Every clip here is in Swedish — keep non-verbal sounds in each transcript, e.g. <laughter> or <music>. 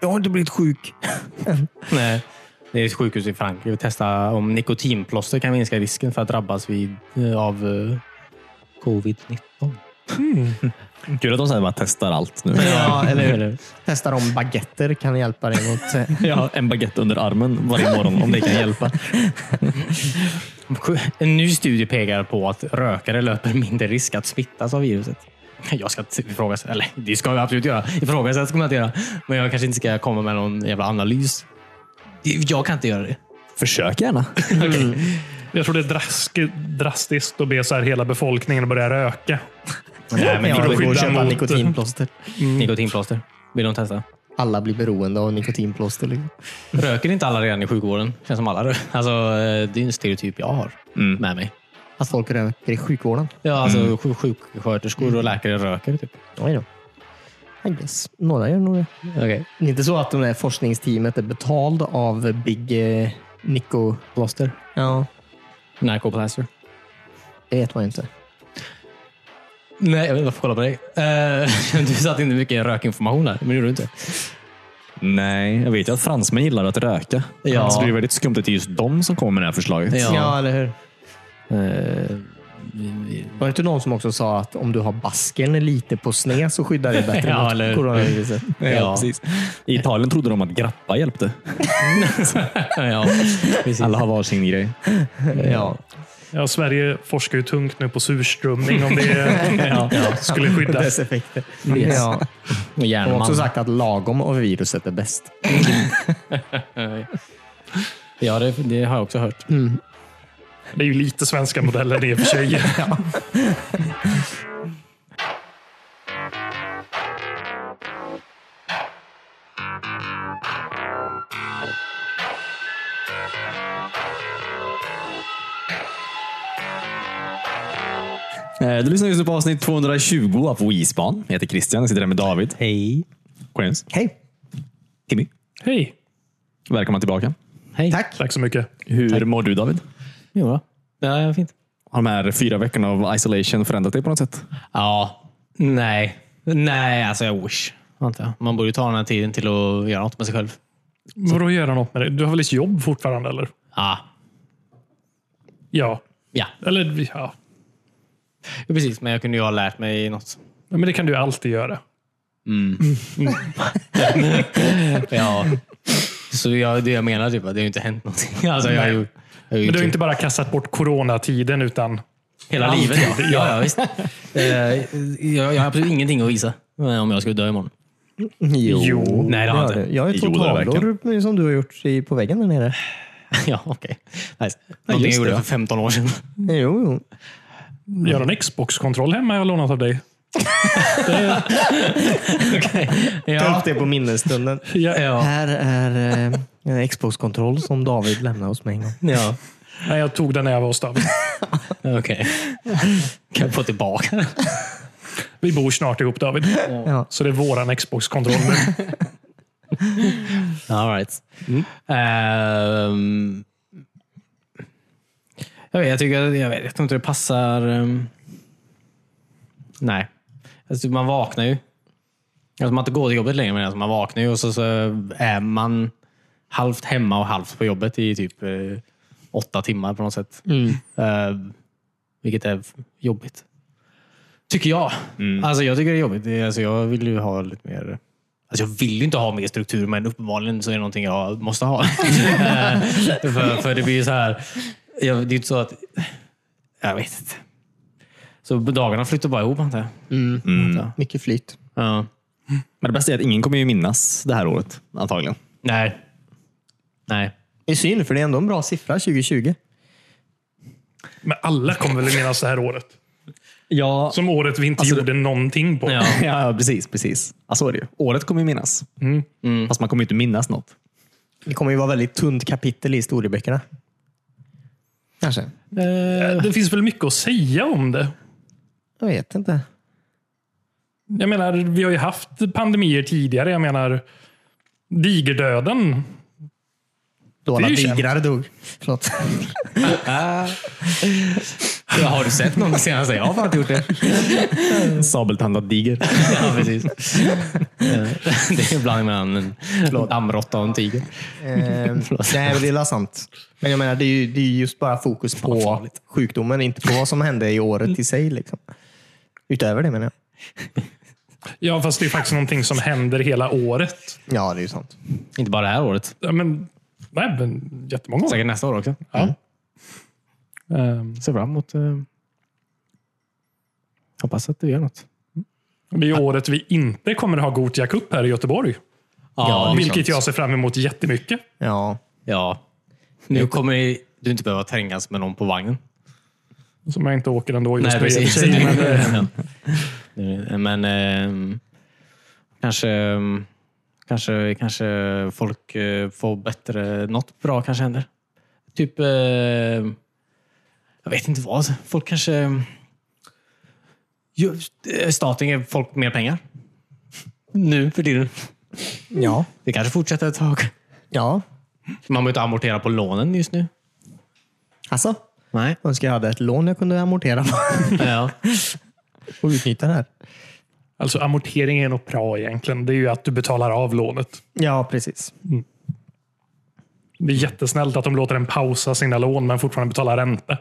Jag har inte blivit sjuk. Nej. Det är ett sjukhus i Frankrike. Vi testar om nikotinplåster kan minska risken för att drabbas vid, eh, av eh, covid-19. Mm. Kul att de säger att man testar allt nu. <laughs> Ja, eller hur? Eller- Testar om baguetter kan hjälpa dig mot... eh, <laughs> Ja, en baguette under armen varje morgon om det kan hjälpa. eh, <laughs> En ny studie pekar på att rökare löper mindre risk att smittas av viruset. Jag ska inte ifrågasätta, eller det ska jag absolut göra. Ifrågasätta ska man inte göra. Men jag kanske inte ska komma med någon jävla analys. Jag kan inte göra det. Försök gärna. Jag tror det är drask, drastiskt att be så här hela befolkningen att börja röka. Nej, men Ja, Ja, det går det går att att skydda köpa mot- nikotinplåster. Mm. Nikotinplåster. Vill de testa? Alla blir beroende av nikotinplåster. Liksom. Röker inte alla redan i sjukvården? Känns som alla rö- Alltså, eh, det är en stereotyp jag har Mm. med mig. Att folk röker i sjukvården. Ja, alltså sjuk- sjuksköterskor och läkare röker typ. Oj då. I guess. Några gör nog det. Okej. Det är inte så att det där forskningsteamet är betald av Big eh, Nico... Plåster. Ja, Narkoplaster. det vet man ju inte. Nej, jag vet inte. Varför kolla på dig? Eh, <laughs> du satte inte mycket rökinformation där, men det gjorde du inte. Nej, jag vet ju att fransmän gillar att röka. Ja. Så det är väldigt skumt att det är just de som kommer med det här förslaget. Ja. eller hur? Eh, vi- vi- Var det inte någon som också sa att om du har basken lite på sned så skyddar det bättre Ja, mot eller hur? coronaviruset? ja, precis. I Italien trodde de att grappa hjälpte. <laughs> ja, precis. Alla har varsin grej. Ja. Ja, Sverige forskar ju tungt nu på surströmming om det skulle skyddas. Dess effekter. Yes. Ja. Och De har järnman. också sagt att lagom av viruset är bäst. Ja, det, det har jag också hört. Det är ju lite svenska modellen i och för sig. Eh, Du lyssnar just nu på avsnitt 220 av WeSpan. Jag heter Christian, jag sitter här med David. Hej. James. Hej! Timmy. Hej! Välkomna tillbaka. Hej. Tack! Tack så mycket. Hur mår du David? Jo, då. Ja, fint. Har de här fyra veckorna av isolation förändrat dig på något sätt? Ja. Nej. Nej, alltså jag wish. Antar jag. Man borde ju ta den här tiden till att göra något med sig själv. Vadå göra något med det? Du har väl ett jobb fortfarande eller? Ja. Ja. Ja, Eller ja. precis. Men jag kunde ju ha lärt mig <laughs> något. Ja, Men det kan du ju alltid göra. Ja. Så jag, det jag menar typ att det har ju inte hänt någonting. <laughs> Alltså, jag har ju, jag har ju Men du har typ- inte bara kastat bort coronatiden utan... Hela Allt. livet, ja. ja, ja visst. Eh, jag, jag har absolut ingenting att visa eh, om jag skulle dö imorgon. <laughs> Jo. Jo. Nej, det har jag Ja, inte. Jag har ju två Jo, det har jag tavlor som du har gjort i- på väggen där nere. Ja, okej. Nice. Någonting jag just gjorde det. för 15 år sedan. Jo, jo. Jag har en Xbox-kontroll hemma jag har lånat av dig. Ta Typ. upp det på minnesstunden. Jag, <laughs> Ja. Här är eh, en Xbox-kontroll som David lämnade hos mig en gång. ja. nej, jag tog den när jag var hos David. Okej. <laughs> Kan jag få tillbaka den? Vi bor snart ihop David. Ja. Så det är våran Xbox-kontroll nu. All right. Ehm, jag, vet, jag, tycker, jag vet jag tror inte det passar. ehm, nej. Alltså, man vaknar ju. Alltså, man inte går till jobbet längre, men alltså, man vaknar ju och så, så är man halvt hemma och halvt på jobbet i typ eh, åtta timmar på något sätt. Ehm, vilket är jobbigt. Tycker jag. Alltså, jag tycker det är jobbigt. Det- Alltså, jag vill ju ha lite mer... Alltså, jag vill ju inte ha mer struktur, men uppenbarligen så är det någonting jag måste <laughs> ha. Eh, för, för det blir ju så här... Jag, det är ju inte så att... Jag vet inte. Så dagarna flyttar bara ihop, antar jag. Mycket flyt. Ja. Men det bästa är att ingen kommer ju minnas det här året, antagligen. Nej. Nej. Det är synd, för det är ändå en bra siffra 2020. Men alla kommer väl minnas det här året? Ja, Som året vi inte gjorde någonting på. Alltså, Ja. <laughs> ja precis. precis. Mm. Ja, så är det ju. Året kommer ju minnas. Fast man kommer ju inte minnas något. Det kommer ju vara väldigt tunt kapitel i historieböckerna. Kanske. Eh, Det finns väl mycket att säga om det. Jag vet inte. Jag menar, vi har ju haft pandemier tidigare. Jag menar, digerdöden. Då alla Det är ju känt. digrar dog. Förlåt. Ja, <laughs> har du sett någon det senaste? Jag har fan inte <laughs> gjort det. Sabeltandad diger. <laughs> Ja, precis. <laughs> det är en blandning mellan en dammråtta och en tiger. <laughs> Eh, nej, men det är väl sant. Men jag menar, det är ju, det är ju just bara fokus på sjukdomen, inte på vad som hände i året i sig. Liksom. Utöver det menar jag. Ja, fast det är faktiskt någonting som händer hela året. Ja, det är ju sant. Inte bara det här året. Ja, men, nej, men jättemånga år. Säkert nästa år också. Ja. Ehm, Ser fram emot... Eh... Hoppas att du gör något. Det är ju året vi inte kommer ha Gothia Cup här i Göteborg. Ja, vilket jag ser fram emot jättemycket. Ja, ja. Nu kommer du inte behöva trängas med någon på vagnen. Som jag inte åker ändå just nu. i och för sig, men, <laughs> men eh, eh, men ehm, kanske, ehm, kanske, kanske folk eh, får bättre... Något bra kanske händer. Typ... Eh, jag vet inte vad. Folk kanske... Jo, eh, Staten ger folk mer pengar. Nu för tiden. ja, Det kanske fortsätter ett tag. ja. Man behöver inte amortera på lånen just nu. Alltså, Nej. önskar jag hade ett lån jag kunde amortera på Ja. och utnyttja det här. alltså amortering är något bra egentligen. Det är ju att du betalar av lånet. Ja, precis. Det är jättesnällt att de låter en pausa sina lån men fortfarande betala ränta.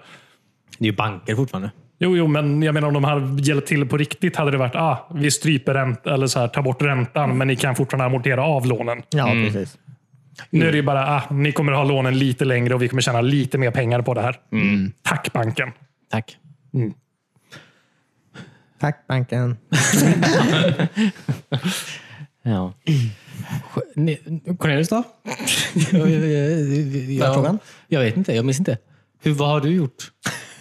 Det är ju banker fortfarande. Jo, jo, men jag menar om de hade hjälpt till på riktigt hade det varit ah, vi stryper ränta eller så här, tar bort räntan, men ni kan fortfarande amortera av lånen. Ja, precis. Nu är det ju bara ah, ni kommer ha lånen lite längre och vi kommer tjäna lite mer pengar på det här. Tack banken. Tack. Tack banken. Ja. Ni- Cornelius <laughs> då? jag, jag, jag, frågan? jag, jag vet inte. Jag minns inte. Hur, vad har du gjort?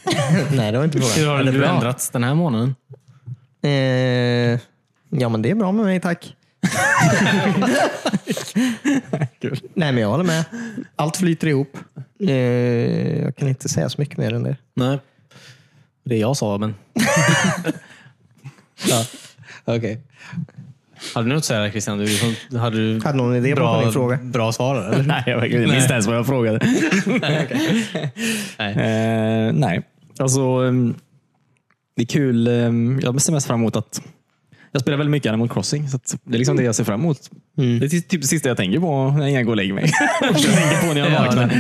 <laughs> Nej, det var inte Hur frågan. har Eller du bra. ändrats den här månaden? Eh, ja, men det är bra med mig, tack. Nej, men jag håller med. Allt flyter ihop. Eh, jag kan inte säga så mycket mer än det. Nej. Det jag sa, men... <laughs> ja. Okej. Hade du något att säga Christian? Du, liksom- hade du Hade någon idé på bra, din fråga? Bra svar? <laughs> Eller? Nej, jag vet inte. jag minns inte ens vad jag <laughs> frågade. Nej. <laughs> Eh, nej, alltså ehm, det är kul. ehm, jag ser mest fram emot att jag spelar väldigt mycket Animal Crossing. Så att det är liksom det jag ser fram emot. Det är typ typ det sista jag tänker på när jag går och lägger mig. <laughs> jag tänker på när jag Ja, vaknar.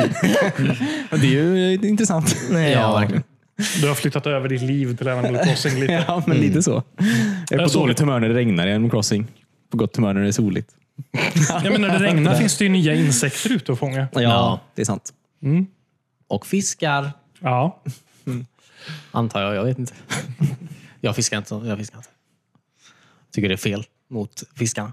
Och det är ju eh, intressant. Nej, Ja, verkligen. Du har flyttat över ditt liv till Animal Crossing lite. Ja, men lite så. Jag är Jag på såg- dåligt humör när det regnar i Animal Crossing. På gott humör när det är soligt. <laughs> Ja, men när det regnar finns det ju nya insekter ute att fånga. Ja. det är sant. Och fiskar, Ja, antar jag. Jag vet inte. <laughs> jag fiskar inte. Jag fiskar inte. Tycker det är fel mot fiskarna.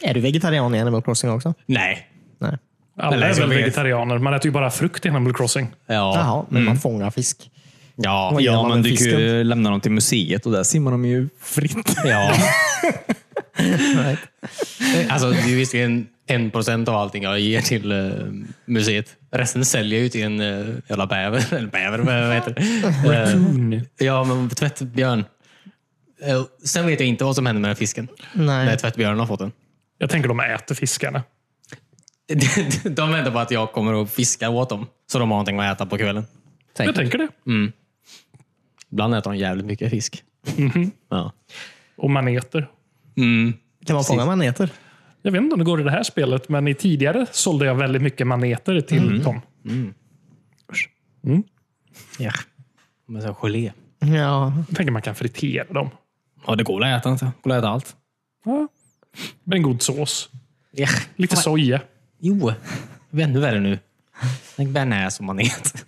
Är du vegetarian i Animal Crossing också? Nej. Nej. alla Eller är så väl vet- vegetarianer. Man äter ju bara frukt i Animal Crossing. Ja. Jaha, men man fångar fisk. Ja, Vad gör Ja, man men med du kan fisken? ju lämna dem till museet och där simmar de ju <laughs> fritt. ja. <laughs> alltså, det är ju visserligen en procent av allting jag ger till eh, museet. Resten säljer jag ju till en uh, jävla bäver. <laughs> Eller bäver, vad heter det? Uh, ja, men tvättbjörn. Eh, sen vet jag inte vad som händer med den fisken. Nej. När tvättbjörnen har fått den. <laughs> Jag tänker de äter fiskarna. De väntar på att jag kommer och fiskar åt dem. Så de har någonting att äta på kvällen. Jag tänker det. Ibland äter de jävligt mycket fisk. Mhm. Ja. Och maneter. Mm. Kan man fånga maneter? Jag vet inte om det går i det här spelet, men i tidigare sålde jag väldigt mycket maneter till dem. Ja. Men så gelé. Ja. Jag tänker man kan fritera dem. Ja, det går att äta. inte. går att äta allt. Ja. Med en god sås. Ja. Lite soja. Jo, det blir ännu värre nu. Tänk bearnaise som manet.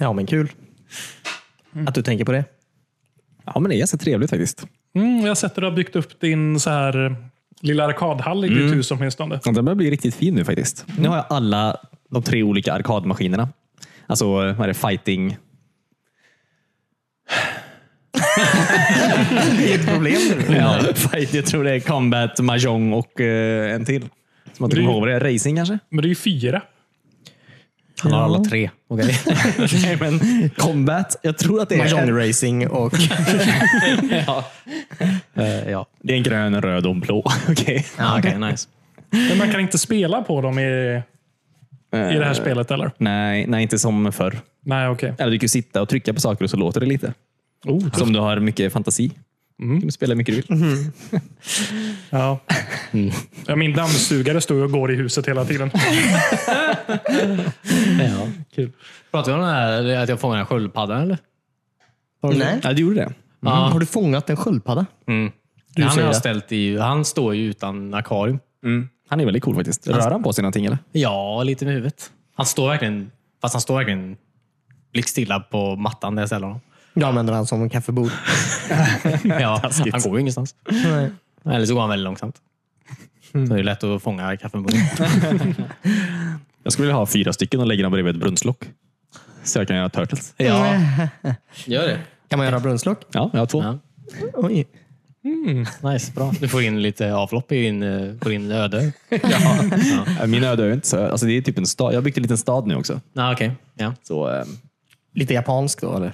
ja, men kul. Att du tänker på det. Ja, men det är ganska trevligt faktiskt. Mm, jag har sett att du har byggt upp din så här, eh, lilla arkadhall i ditt hus åtminstone. Ja, Den börjar bli riktigt fin nu faktiskt. Nu har jag alla de tre olika arkadmaskinerna. Alltså, vad är det? <laughs> Fighting. Ett problem nu. Ja, fight, jag tror det är combat, mahjong och eh, en till. Som jag inte kommer ihåg vad det är. Racing kanske? Men det är ju fyra. Han har alla tre. <laughs> Okej. Nej, men <laughs> combat. Jag tror att det är, <laughs> en, Racing och... Eh, ja, det är en grön, en röd och en blå. <laughs> Okej. ja okej. nice. Men man kan inte spela på dem i i det här spelet, eller? Eh, Nej, nej, inte som förr. Nej, okej. Eller du kan ju sitta och trycka på saker och så låter det lite. Oh, Så om du har mycket fantasi. kan du spela mycket du vill. ja. ja, min dammsugare står ju och går i huset hela tiden. Ja. Kul. Pratar vi om det här, att jag fångade en sköldpadda eller? Nej. Ja, du gjorde det. Ja. Mm. Har du fångat en sköldpadda? Mm. han har säger jag det. ställt i, han står ju utan akvarium. Mm. Han är väldigt cool faktiskt. Rör han på sig någonting eller? Ja, lite med huvudet. Han står verkligen, fast han står verkligen blickstilla på mattan där jag <laughs> ställer honom. Jag använder den som en kaffebord. Ja, han går ju ingenstans. Nej. Eller så går han väldigt långsamt. Så det är lätt att fånga kaffemuggen. Jag skulle vilja ha fyra stycken och lägga dem bredvid ett brunnslock. Så jag kan göra turtles. Ja, gör det. Kan man göra brunnslock? Ja, jag har två. Ja. Oj. Nice, bra. Du får in lite avlopp i din, eh, på din öde. <laughs> Äh, Min öde är ju inte så... Alltså det är typ en stad. Jag har byggt en liten stad nu också. Ah, Okej, ja. Så, ehm, Lite japansk då eller?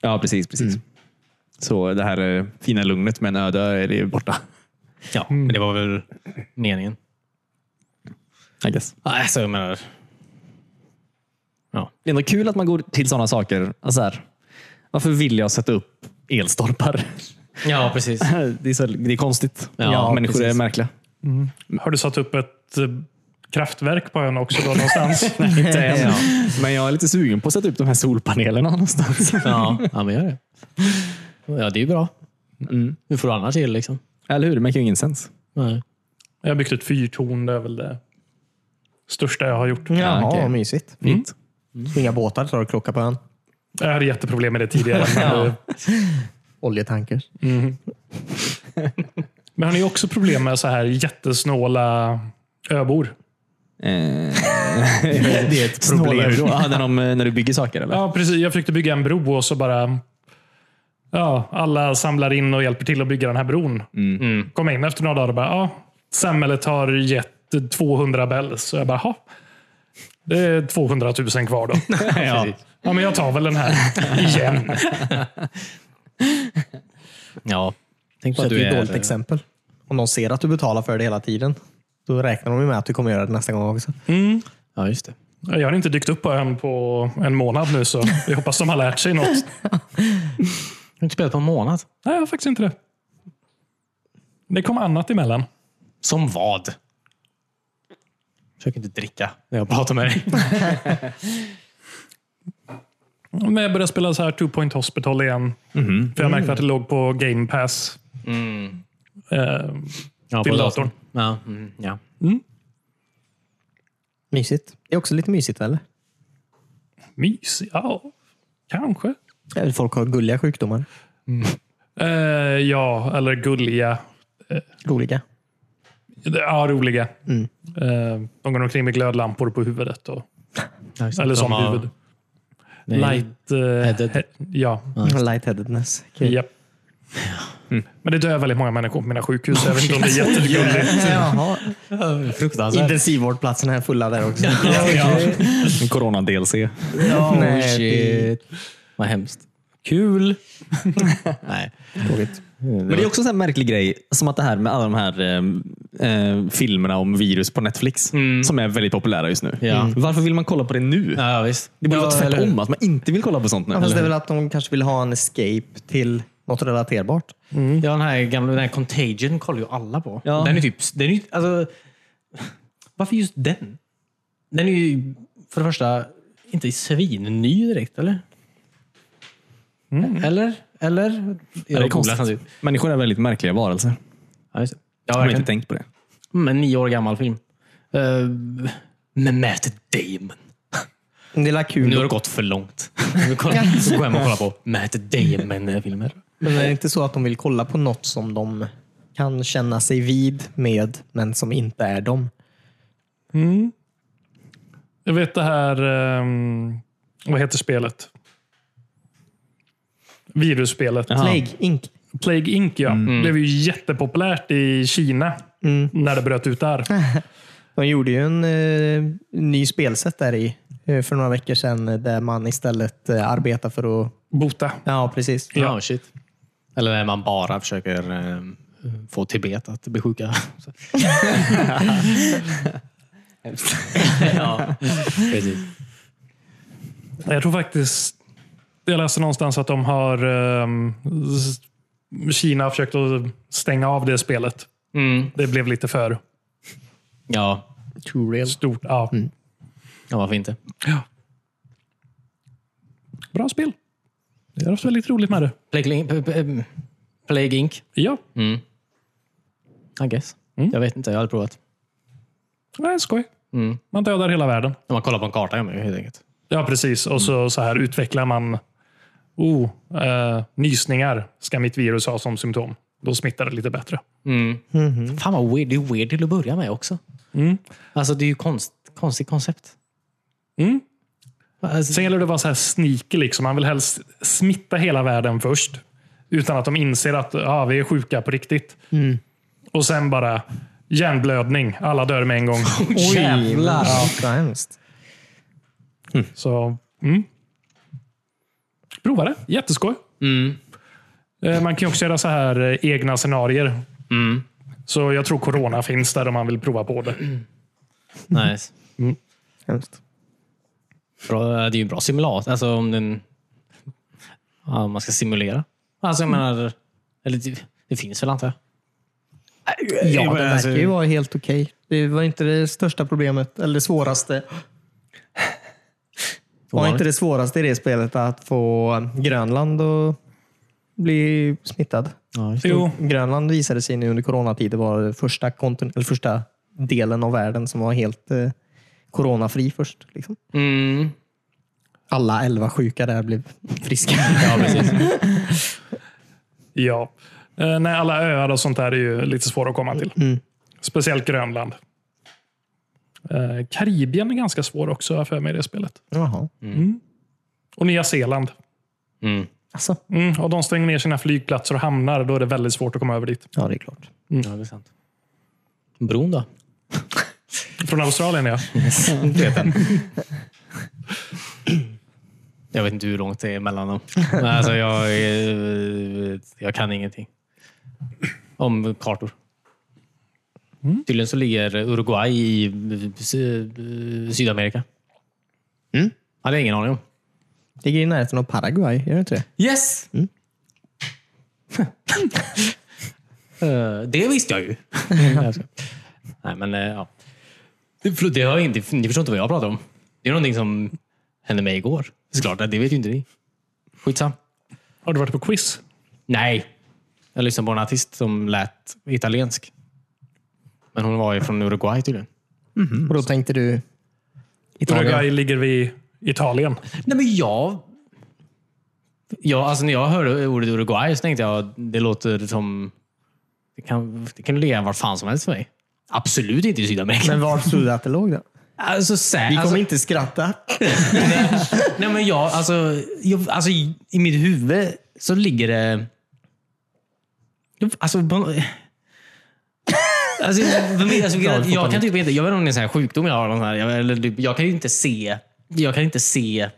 ja, precis. precis. Mm. Så det här eh, fina lugnet med en öde ö är det borta. ja. Men det var väl meningen. I guess. Nej, så alltså, jag menar... Ja. Det är ändå kul att man går till sådana saker. Alltså här, varför vill jag sätta upp elstolpar? ja, <laughs> precis. <laughs> Det är, så, det är konstigt. Ja, Människor precis. är märkliga. Har du satt upp ett eh, kraftverk på ön också då, någonstans? Inte än. Men jag är lite sugen på att sätta upp de här <laughs> solpanelerna någonstans. Ja, ja men gör det. Ja, det är ju bra. Hur får du annars el liksom? Eller hur? Det märker ju ingen sens. Nej. Jag har byggt ett fyrtorn. Det är väl det största jag har gjort. Jaha, okej. vad mysigt. Fint. Inga båtar tar och krockar på ön. Jag hade jätteproblem med det tidigare. Men, eh, Oljetankers. men har ni också problem med så här jättesnåla öbor? Eh, Det är ett Snåla hur problem. då? Ja, när, de, eh, när du bygger saker eller? Ja, precis. Jag försökte bygga en bro och så bara... Ja, alla samlar in och hjälper till att bygga den här bron. Kom in efter några dagar och bara, ja, samhället har gett 200 bells. Så jag bara, ja. Det är 200 000 kvar då. Ja. Ja, men jag tar väl den här igen. Ja. Tänk på Så att det du är ett är... dåligt exempel. Om de ser att du betalar för det hela tiden, då räknar de ju med att du kommer göra det nästa gång också. Ja, just det. Jag har inte dykt upp på ön på en månad nu, så jag hoppas de har lärt sig något. Du har inte spelat på en månad. <laughs> Nej, jag har faktiskt inte det. Det kom annat emellan. Som vad? Försök inte dricka när jag pratar med dig. Men jag började spela så här Two Point Hospital igen. För jag märkte att det låg på Game Pass. Eh, Ja, Till datorn. Ja, mm, ja. Mysigt. Det är också lite mysigt eller? mys? Ja, kanske. Ja, Folk har gulliga sjukdomar. Eh, ja, eller gulliga. Roliga. Ja, roliga. Mm. Eh, de går omkring med glödlampor på huvudet. Och, <laughs> Ja, just det. eller De som har- huvud. Nej. Light... Eh, Headed. he, ja. Lightheadedness. Kul. Japp. Mm. Men det dör väldigt många människor på mina sjukhus. så Jag vet inte om det är jättegulligt. Jaha. <laughs> Fruktansvärt. Intensivvårdplatserna är fulla där också. <laughs> En Corona-DLC. Oh, Nej, shit. Vad hemskt. Kul! Nej. Tråkigt. Men det är också en sån här märklig grej, som att det här med alla de här eh, eh, filmerna om virus på Netflix, som är väldigt populära just nu. Mm. Ja. Mm. Varför vill man kolla på det nu? Ja, visst. Det borde ja, vara eller tvärtom, hur? att man inte vill kolla på sånt nu. Ja, fast det är eller väl att de kanske vill ha en escape till något relaterbart. Ja, den här gamla den här Contagion kollar ju alla på. Ja. Den är typ... Den är, ju- alltså, varför just den? Den är ju för det första inte svinny direkt, eller? Eller? Eller? hur? Jag det är googlar konstigt. samtidigt. Människor är väldigt märkliga varelser. Ja, just det. Ja, Jag har inte verkligen. tänkt på det. Mm, en nio år gammal film. Uh, med Matt Damon. Det är la Nu har kul. det gått för långt. <laughs> Nu kollar- nu går jag hem och kollar på Matt Damon-filmer. Men är det inte så att de vill kolla på något som de kan känna sig vid med, men som inte är dem? Jag vet det här... ehm, vad heter spelet? Virusspelet. Plague Inc. Plague Inc. Ja. blev ju jättepopulärt i Kina när det bröt ut där. De gjorde ju en eh, ny spelsätt där i eh, för några veckor sedan eh, där man istället eh, arbetar för att... Bota. Ja, precis. Ja, shit. Eller när man bara försöker <laughs> eh, få Tibet att bli sjuka. Hemskt. ja, precis. Jag tror faktiskt, jag läste någonstans att de har ehm, s- Kina har försökt att stänga av det spelet. Mm. Det blev lite för Ja. Too real. stort. Ja. ja, varför inte? Bra spel. Jag har haft väldigt roligt med det. Plague, p- p- eh, Plague Inc. Ja, Mm. I guess. Mm. Jag vet inte, jag har aldrig provat. nej, skoj. Mm. Man dödar hela världen. När man kollar på en karta kan man ju helt enkelt. Ja, precis. Och så, så här utvecklar man oh, eh, nysningar ska mitt virus ha som symptom. Då smittar det lite bättre. Mm. Fan vad weird. Det är weird till att börja med också. Mm-hmm. Mm. Alltså det är ju konst, konstigt koncept. Mm. Alltså, Sen gäller det att vara så här sneaky. Liksom. Man vill helst smitta hela världen först. Utan att de inser att ah, vi är sjuka på riktigt. Mm. Och sen bara hjärnblödning. Alla dör med <laughs> en gång. Jävlar. Ja, vad hemskt. Så, mm. Prova det. Jätteskoj. Mm. Eh, Man kan ju också göra så här eh, egna scenarier. Så jag tror corona finns där om man vill prova på det. nice. Hemskt. Bra, det är ju en bra simulator. Alltså om den... Ja, om man ska simulera. Alltså jag menar... Eller det, det finns väl antar jag? Ja, men Äh, det alltså- verkar ju vara helt okej. Det var inte det största problemet, eller det svåraste. Var inte det svåraste i det spelet att få Grönland att bli smittad? Ja, just det. Jo, Grönland visade sig nu under coronatider vara den första, kontin- eller första delen av världen som var helt eh, coronafri först. Liksom. Mm. Alla elva sjuka där blev friska. Ja, precis. ja. Eh, Nej, alla öar och sånt där är ju lite svåra att komma till. Speciellt Grönland. Eh, Karibien är ganska svår också, har jag för mig, i det spelet. <laughs> Jaha. Och Nya Zeeland. Mm. Alltså. Mm, och de stänger ner sina flygplatser och hamnar. Då är det väldigt svårt att komma över dit. Ja, det är klart. Ja, det är sant. Bron då? Från Australien, ja. Mm. <laughs> Jag vet inte hur långt det är mellan dem. Men alltså, jag, är- jag kan ingenting om kartor. Tydligen så ligger Uruguay i Sy- Sydamerika. Mm. Hade jag ingen aning om. Ligger i närheten av Paraguay, gör det inte det? Yes! <laughs> Eh, det visste jag ju. <laughs> Nej, men eh, ja. Det, förlåt, det har jag inte, ni förstår inte vad jag pratar om. Det är någonting som hände mig igår. Såklart, det vet ju inte ni. Skitsam. Har du varit på quiz? Nej. Jag lyssnade på en artist som lät italiensk. Men hon var ju från Uruguay tydligen. Och då tänkte du Italien? Uruguay ligger vid Italien. Nej, men jag... Ja, alltså när jag hörde ordet Uruguay så tänkte jag det låter som... Det kan, det kan ligga var fan som helst för mig. Absolut inte i Sydamerika. Men var trodde du att det låg då? alltså, sä, Vi kommer alltså, inte skratta. nej, men jag, alltså, jag, alltså, i, I mitt huvud så ligger det... Alltså, på, alltså, för mig, alltså jag, jag kan typ inte... Jag vet inte om det är en sån här sjukdom jag har. Någon sån här, jag, eller, typ, jag kan ju inte se... Jag kan inte se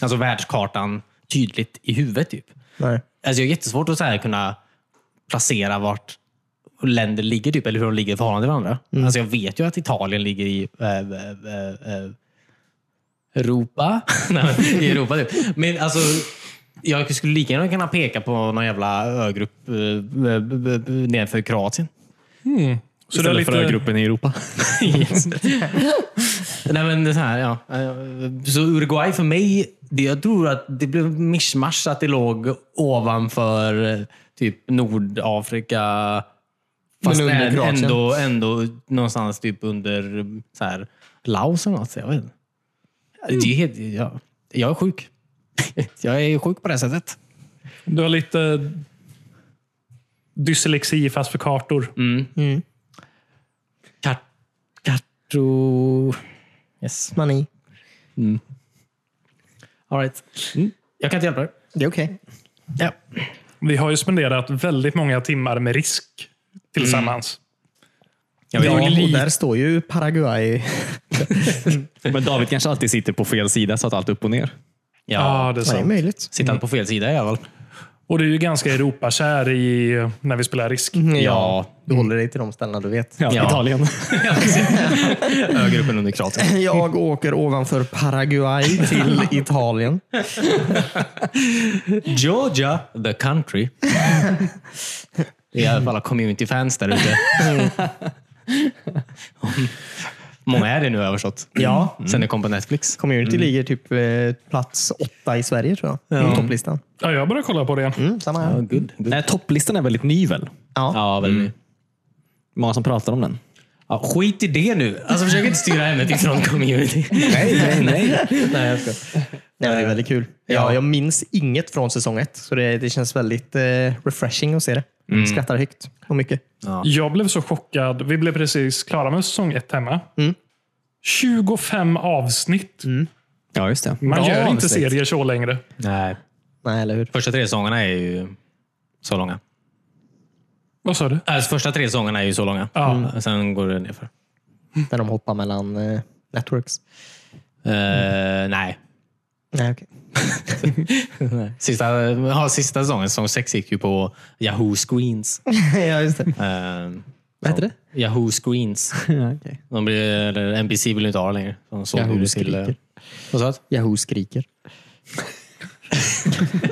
alltså, världskartan tydligt i huvudet. Typ. Nej. Alltså jag är jättesvårt att så här kunna placera vart länder ligger, typ, eller hur de ligger i förhållande till varandra. Alltså jag vet ju att Italien ligger i eh, eh, eh, Europa. <laughs> Nej, men I Europa, typ. Men alltså, jag skulle lika gärna kunna peka på någon jävla ögrupp eh, b- b- b- nedanför Kroatien. Så det är lite... gruppen i <laughs> Europa. Nej, men det är så här, ja. Så Uruguay för mig, det jag tror att det blev mischmasch att det låg ovanför eh, typ Nordafrika. Fast Men under ä- Kroatien. ändå, ändå någonstans typ under eh, så här, Laos eller något. så Jag, vet inte. det är helt, ja, jag är sjuk. <laughs> jag är sjuk på det här sättet. Du har lite dyslexi fast för kartor. Kart, kartro... Yes. Mani. All right. Mm. Jag kan inte hjälpa dig. Det är okej. Ja. Vi har ju spenderat väldigt många timmar med risk tillsammans. Jag vet Ja, inte. och där står ju Paraguay. Men David kanske alltid sitter på fel sida så att allt är upp och ner. ja. Ja, det är Det är sant. möjligt. Sitter han på fel sida i alla fall? Och du är ju ganska Europakär i, eh, när vi spelar risk. Mm. Ja. Du håller dig till de ställena du vet. Ja, <laughs> Ja. Italien. Högre upp än under <laughs> Kroatien. Jag åker ovanför Paraguay till Italien. Georgia, the country. Det är i alla fall alla community fans där ute. Många är det nu har jag förstått. Mm. Ja. Sen det kom på Netflix. Community ligger typ eh, plats åtta i Sverige tror jag. På topplistan. Ja, jag börjar kolla på det. Mm, samma här. good, Nej, topplistan är väldigt ny väl? Mm. Ja. Ja, väldigt. Många som pratar om den. Ja, skit i det nu. Alltså, försök inte styra ämnet ifrån community. <laughs> Nej, nej, nej. nej jag ska. Nej, men det är väldigt kul. Ja, jag minns inget från säsong ett, så det, det känns väldigt eh, refreshing att se det. Skrattar högt och mycket. Jag blev så chockad. Vi blev precis klara med säsong ett hemma. 25 avsnitt. Ja, just det. Man Bra gör inte avsnitt. serier så längre. Nej. Nej, eller hur? Första tre säsongerna är ju så långa. Vad sa du? Alltså, första tre säsongerna är ju så långa. Ja. Sen går det nerför. När de hoppar mellan eh, networks. Eh, nej. Nej, okej. <laughs> Sista, ja, sista säsongen, säsong sex, gick ju på Yahoo Screens. ja, just det. Eh, Vad heter det? Yahoo Screens. <laughs> Ja, okej. De blir, eller NBC vill inte ha det längre. De sålde Yahoo ju det till... eh, skriker. Vad sa du? Yahoo skriker.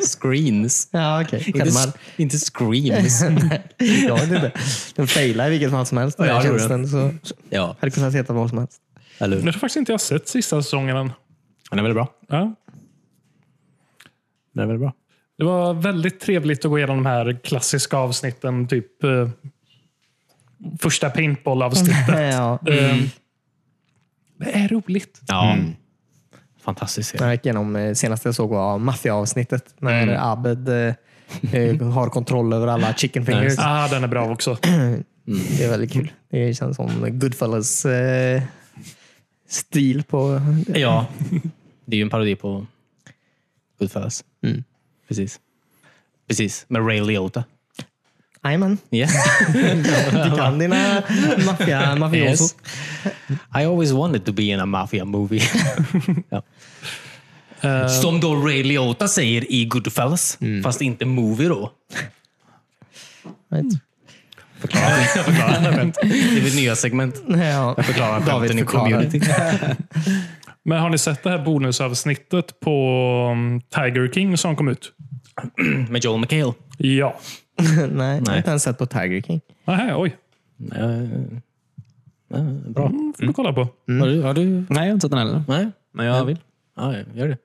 Screens. Ja, <laughs> okej. Inte, Skärmar. s- inte <laughs> screams. Mm. <laughs> Jag vet inte. Den failar i vilket fall som helst. Den Ja, här det gjorde tjänsten. Så ja, hade kunnat heta vad som <laughs> helst. eller hur? Jag tror faktiskt inte jag har sett sista säsongen än. Den är väldigt bra. Ja. Den är väldigt bra. Det var väldigt trevligt att gå igenom de här klassiska avsnitten. Typ eh, första <laughs> paintball-avsnittet. Ja, Eh, det är roligt. Ja. Fantastisk <laughs> serie. jag gick igenom eh, senaste jag såg var maffiaavsnittet när Abed eh, eh, <laughs> har kontroll över alla chicken fingers. Ah, den är bra också. Det är väldigt kul. Det känns som Goodfellas eh, stil på... Ja. Det är ju en parodi på Goodfellas. Mm. Precis. Precis. Med Ray Liotta. Jajamän, Yes. du kan <laughs> dina maffia, mafioso. yes. <laughs> I always wanted to be in a mafia movie. <laughs> ja. Eh, Som då Ray Liotta säger i Goodfellas. Mm. Fast inte movie då. Right. <laughs> Jag <laughs> förklarar. jag vet. Det blir nya segment. Ja. Jag förklarar skämten i förklarar. community. Men har ni sett det här bonusavsnittet på um, Tiger King som kom ut? Med Joel McHale. Ja. <laughs> Nej, jag har inte ens sett på Tiger King. Nähä, oj. Mm. Bra. Mm, får du kolla på. Har du? Har du? Nej, jag har inte sett den heller. Nej? Men jag vill. Ja, gör det.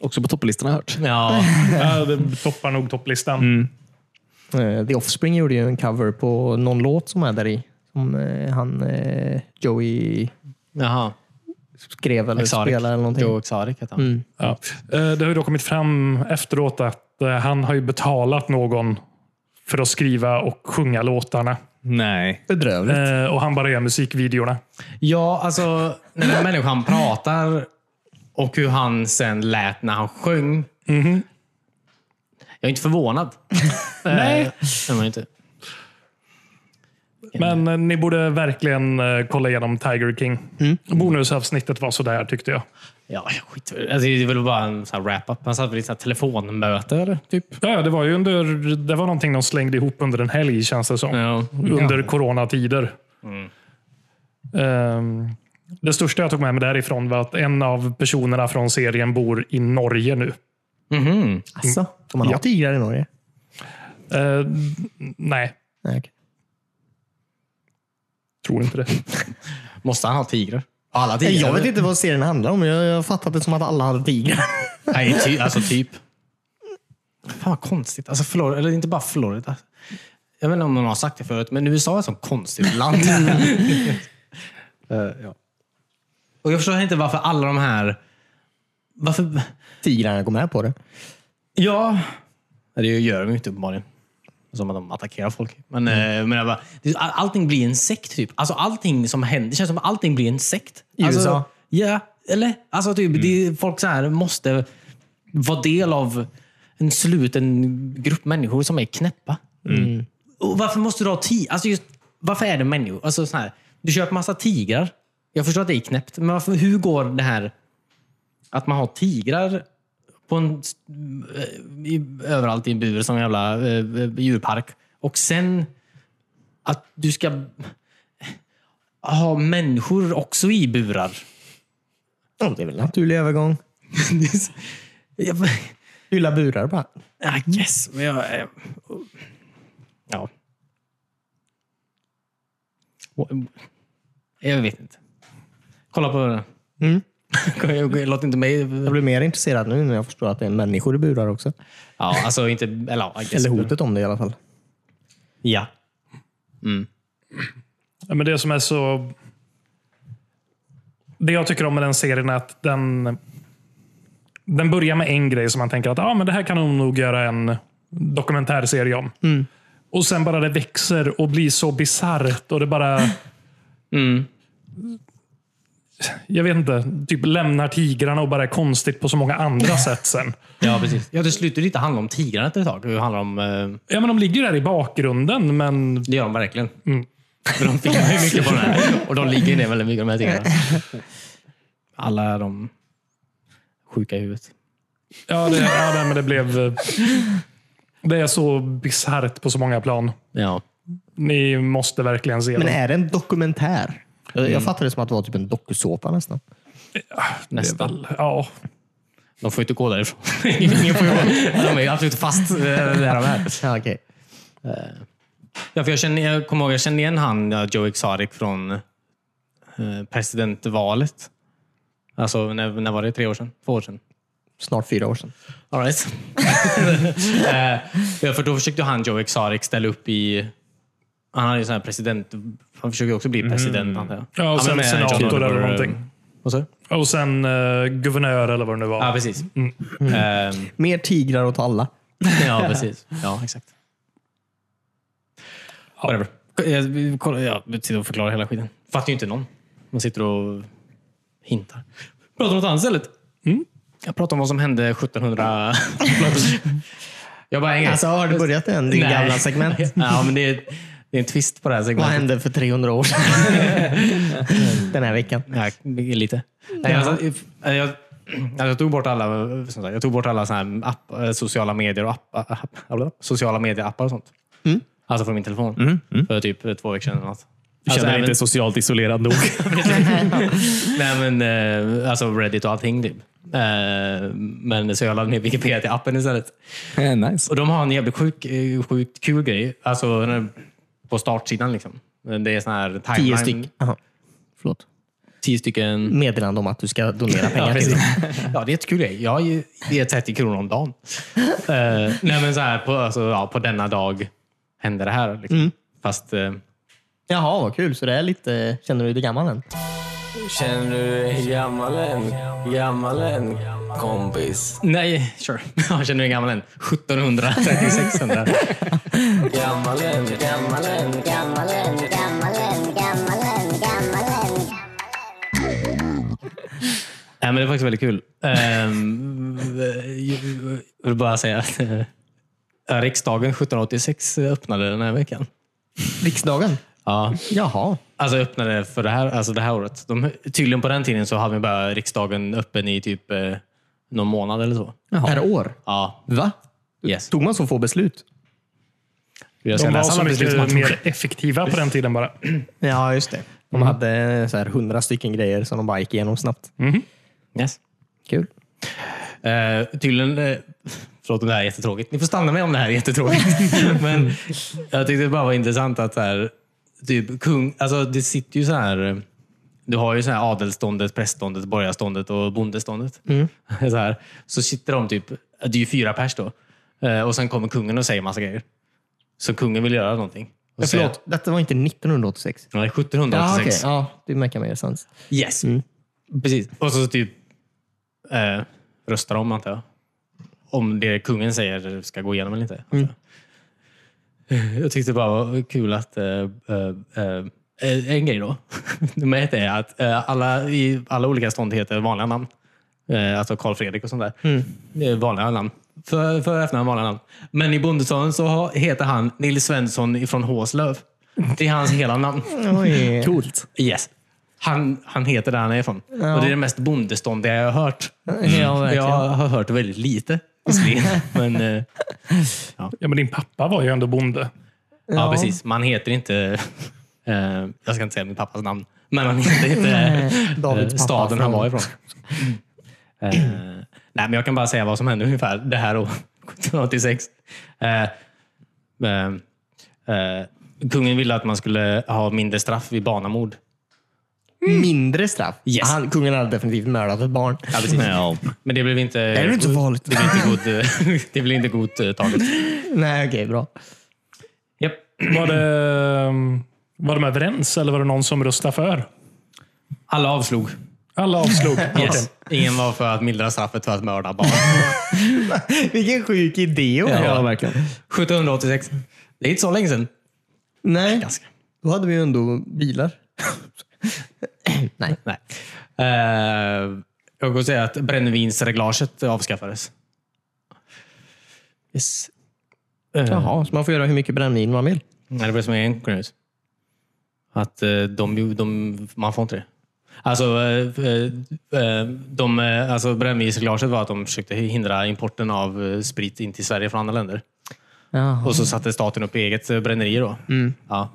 Också på topplistan har jag hört. Ja. Ja, det toppar nog topplistan. Eh, The Offspring gjorde ju en cover på någon låt som är där i. Som eh, han eh, Joey <laughs> Jaha. skrev eller Exotic. spelade eller någonting. Joe Exotic heter han. Ja. Eh, Det har ju då kommit fram efteråt att eh, han har ju betalat någon för att skriva och sjunga låtarna. Nej. Bedrövligt. Eh, Och han bara gör musikvideorna. Ja, alltså när den här människan pratar och hur han sen lät när han sjöng. Mm-hmm. Jag är inte <laughs> förvånad. Eh, Nej. Det var jag inte. Men eh, ni borde verkligen eh, kolla igenom Tiger King. Bonusavsnittet var sådär tyckte jag. Ja, skit. Alltså, det är väl bara en sån här wrap-up. Han satt vid ett sånt här telefonmöte eller? Typ. Ja, det var ju under, det var någonting de slängde ihop under en helg känns det som. Ja. Under coronatider. Ehm, det största jag tog med mig därifrån var att en av personerna från serien bor i Norge nu. Mhm. Alltså, de har ja. tigrar i Norge. Eh, nej, Nej, okej. tror inte det. Måste han ha tigrar? Alla Nej, Jag vet eller? inte vad serien handlar om. Jag jag har fattat det som att alla hade <laughs> tigrar. Nej, ty, alltså typ. Fan vad konstigt. Alltså Florida, eller inte bara Florida. Jag vet inte om någon har sagt det förut, men USA är ett sånt konstigt land. Eh, ja. Och jag förstår inte varför alla de här... Varför... Tigrarna går med på det. Ja. Det gör de ju inte uppenbarligen. Som att de attackerar folk. Men, Mm. eh, men jag bara, det- all- allting blir en sekt typ. Alltså allting som händer, det känns som att allting blir en sekt. I alltså, USA? Mm. Ja, eller? Alltså typ, det, folk så här måste vara del av en sluten grupp människor som är knäppa. Mm. Mm. Och varför måste du ha tigrar? Alltså just, varför är det människor? Alltså så här, du köper massa tigrar. Jag förstår att det är knäppt, men varför, hur går det här att man har tigrar på en, eh, i, överallt i en bur som en jävla eh, eh, djurpark. Och sen att du ska ha människor också i burar. <laughs> Ja, det är väl en naturlig övergång. Det är så- jag, Fylla burar bara. I guess, men jag... eh, Ja. Jag vet inte. Kolla på den. Mm. <laughs> Låt inte mig... Jag blir mer intresserad nu när jag förstår att det är människor i burar också. Ja, alltså inte... Eller, ja, I guess. Eller hotet om det i alla fall. Ja. Ja, men det som är så... Det jag tycker om med den serien är att den, den börjar med en grej som man tänker att ah, men det här kan hon nog göra en dokumentärserie om. Och sen bara det växer och blir så bisarrt och det bara... Jag vet inte. Typ lämnar tigrarna och bara är konstigt på så många andra sätt sen. Ja, precis. Ja, till slut det inte handla om tigrarna efter ett tag. Det handlar om... eh, Ja, men de ligger ju där i bakgrunden, men Det gör de verkligen. <laughs> För de filmar ju mycket på den <laughs> här. Och de ligger ju ner väldigt mycket, de här tigrarna. <laughs> Alla är de sjuka i huvudet. ja, det, ja, nej, men det blev... Det är så bisarrt på så många plan. Ja. Ni måste verkligen se Men den. är det en dokumentär? Jag, jag fattade det som att det var typ en dokusåpa nästan. Nästan. Ja. De får ju inte gå därifrån. <laughs> Ingen får ju gå. <laughs> De är ju absolut fast <laughs> eh, där de är. <laughs> Ja, okej. Ja, för jag, känner, jag kommer ihåg, jag kände igen han, ja, Joe Exotic, från eh, presidentvalet. Alltså, när, när var det? Tre år sedan? Två år sedan? Snart fyra år sedan. All <laughs> right. eh, för då försökte han, Joe Exotic, ställa upp i... Han hade ju sån här president... Han försöker också bli president, antar jag. Mhm. Ja, och men sen med senator John eller Oliver, någonting. eh, Vad sa du? Och sen eh, guvernör eller vad det nu var. Ja, precis. Mm. Ehm, Mer tigrar åt alla. Ja, precis. Ja, exakt. Whatever. Jag, vi kollar- jag sitter och förklarar hela skiten. Fattar ju inte någon. Man sitter och hintar. Pratar om något annat istället. Mm. Jag pratar om vad som hände <laughs> 1700... jag bara, en grej. Alltså, har du börjat än? Din Nej. gamla <laughs> segment? <laughs> ja, men det är, det är en twist på det här Vad segmentet. hände för 300 år <laughs> sedan? Den här veckan. Ja, lite. Nej, alltså, if- jag, jag, alltså, jag tog bort alla, som sagt, jag tog bort alla såna här app, eh, sociala medier och app, eh, app, app, sociala medier-appar och sånt. Alltså från min telefon. För typ två veckor sedan eller något. Mm. Du känner Alltså, dig även, inte socialt isolerad <laughs> nog. nej, men, eh, alltså Reddit och allting. Typ. Eh, Men så jag laddade ner Wikipedia till appen istället. Eh, nice. Och de har en jävligt sjuk, eh, sjukt kul grej. Alltså den här- på startsidan liksom. Det är sån här timeline. Tio stycken. Aha. Förlåt. Tio stycken Meddelande om att du ska <laughs> donera Ja, pengar till precis. dem. <laughs> ja, det är ett kul grej. Jag ger- ger 30 kronor om dagen. Eh, nej, men så här, på, alltså, ja, på denna dag händer det här. Liksom. Mm. Fast... eh, Jaha, vad kul. Så det är lite... Känner du dig gammal än? Känner du dig gammal än? Gammal än? Kompis. nej, sure. <laughs> Jag känner mig gammal än. <laughs> 1736. där. Gammal än? Gammal än? Gammalen, gammalen, gammalen, gammalen. Nej, men det är faktiskt väldigt kul. Ehm, jag vill bara säga att eh, riksdagen 1786 öppnade den här veckan. Riksdagen? Ja, Jaha. alltså öppnade för det här, alltså det här året. De, tydligen på den tiden så hade vi bara riksdagen öppen i typ eh, någon månad eller så. Per år? Ja, Va? yes. Tog man så få beslut? Jag ska De var läsa så alla beslut som mycket man tog. mer effektiva på den tiden bara. Ja, just det. De hade så här 100 stycken grejer som de bara gick igenom snabbt. Yes. Kul. Eh, tydligen, eh, förlåt om det här är jättetråkigt. Ni får stanna med om det här är <laughs> jättetråkigt. Men jag tyckte det bara var intressant att så här, typ kung, alltså det sitter ju så här. eh, Du har ju så här adelståndet, prästståndet, borgarståndet och bondeståndet. Mm. <laughs> Så, här, så sitter de typ, det är ju fyra pers då. Eh, och sen kommer kungen och säger massa grejer. Så kungen vill göra någonting. Och Men säger- förlåt, detta var inte 1986? Nej, Ja, 1786. okej. Ja, det märker mer sens. Yes. Precis. Mm. Och så typ eh, röstar de, antar jag. Om det kungen säger ska gå igenom eller inte. antar jag. <laughs> Jag tyckte det bara var kul att... Eh, eh, eh, en grej då. <laughs> Nummer ett är att eh, alla i alla olika stånd heter vanliga namn. Eh, alltså Karl Fredrik och sånt där. Det är vanliga namn. För, för efternamn vanliga namn. Men i Bondestaden så har- heter han Nils Svensson ifrån Håslöv. Det är hans hela namn. Oj. Coolt. Yes. Han, han heter där han är ifrån. Och det är det mest bondeståndiga jag har hört. Ja, verkligen. jag har hört väldigt lite, visserligen. Men eh, Ja, men din pappa var ju <clears throat> ändå bonde. ja. precis. Man heter inte... Eh, jag ska inte säga min pappas namn. Men man heter inte Davids eh, pappa staden han från- var ifrån. Eh, nej, men jag kan bara säga vad som hände ungefär det här året, <laughs> 1786. Eh, eh, eh, kungen ville att man skulle ha mindre straff vid barnamord. Mindre straff? Yes. Han, kungen hade definitivt mördat ett barn. Ja, precis. Men det blev inte... Det är ju inte så farligt. Det blev inte, god, eh, <laughs> det blev inte godtaget. <laughs> Nej, okej, bra. Japp. Var, det, ehm, var de överens eller var det någon som röstade för? Alla avslog. Alla avslog. Okej. <laughs> Yes. Ingen var för att mildra straffet för att mörda <laughs> barn. Vilken sjuk idé hon Ja, har. verkligen. 1786. Det är inte så länge sedan. Nej, Ganska. då hade vi ju ändå <laughs> bilar. Nej. Nej. Eh, jag kan säga att brännvinsreglaget avskaffades. Yes. Eh, Jaha, så man får göra hur mycket brännvin man vill. Nej, det var det som en knut. Att eh, de, de, man får inte det. Alltså, eh, eh, eh, de, eh, alltså brännvinsreglaget var att de försökte hindra importen av eh, sprit in till Sverige från andra länder. Jaha. Och så satte staten upp eget eh, bränneri då. Mm. Ja.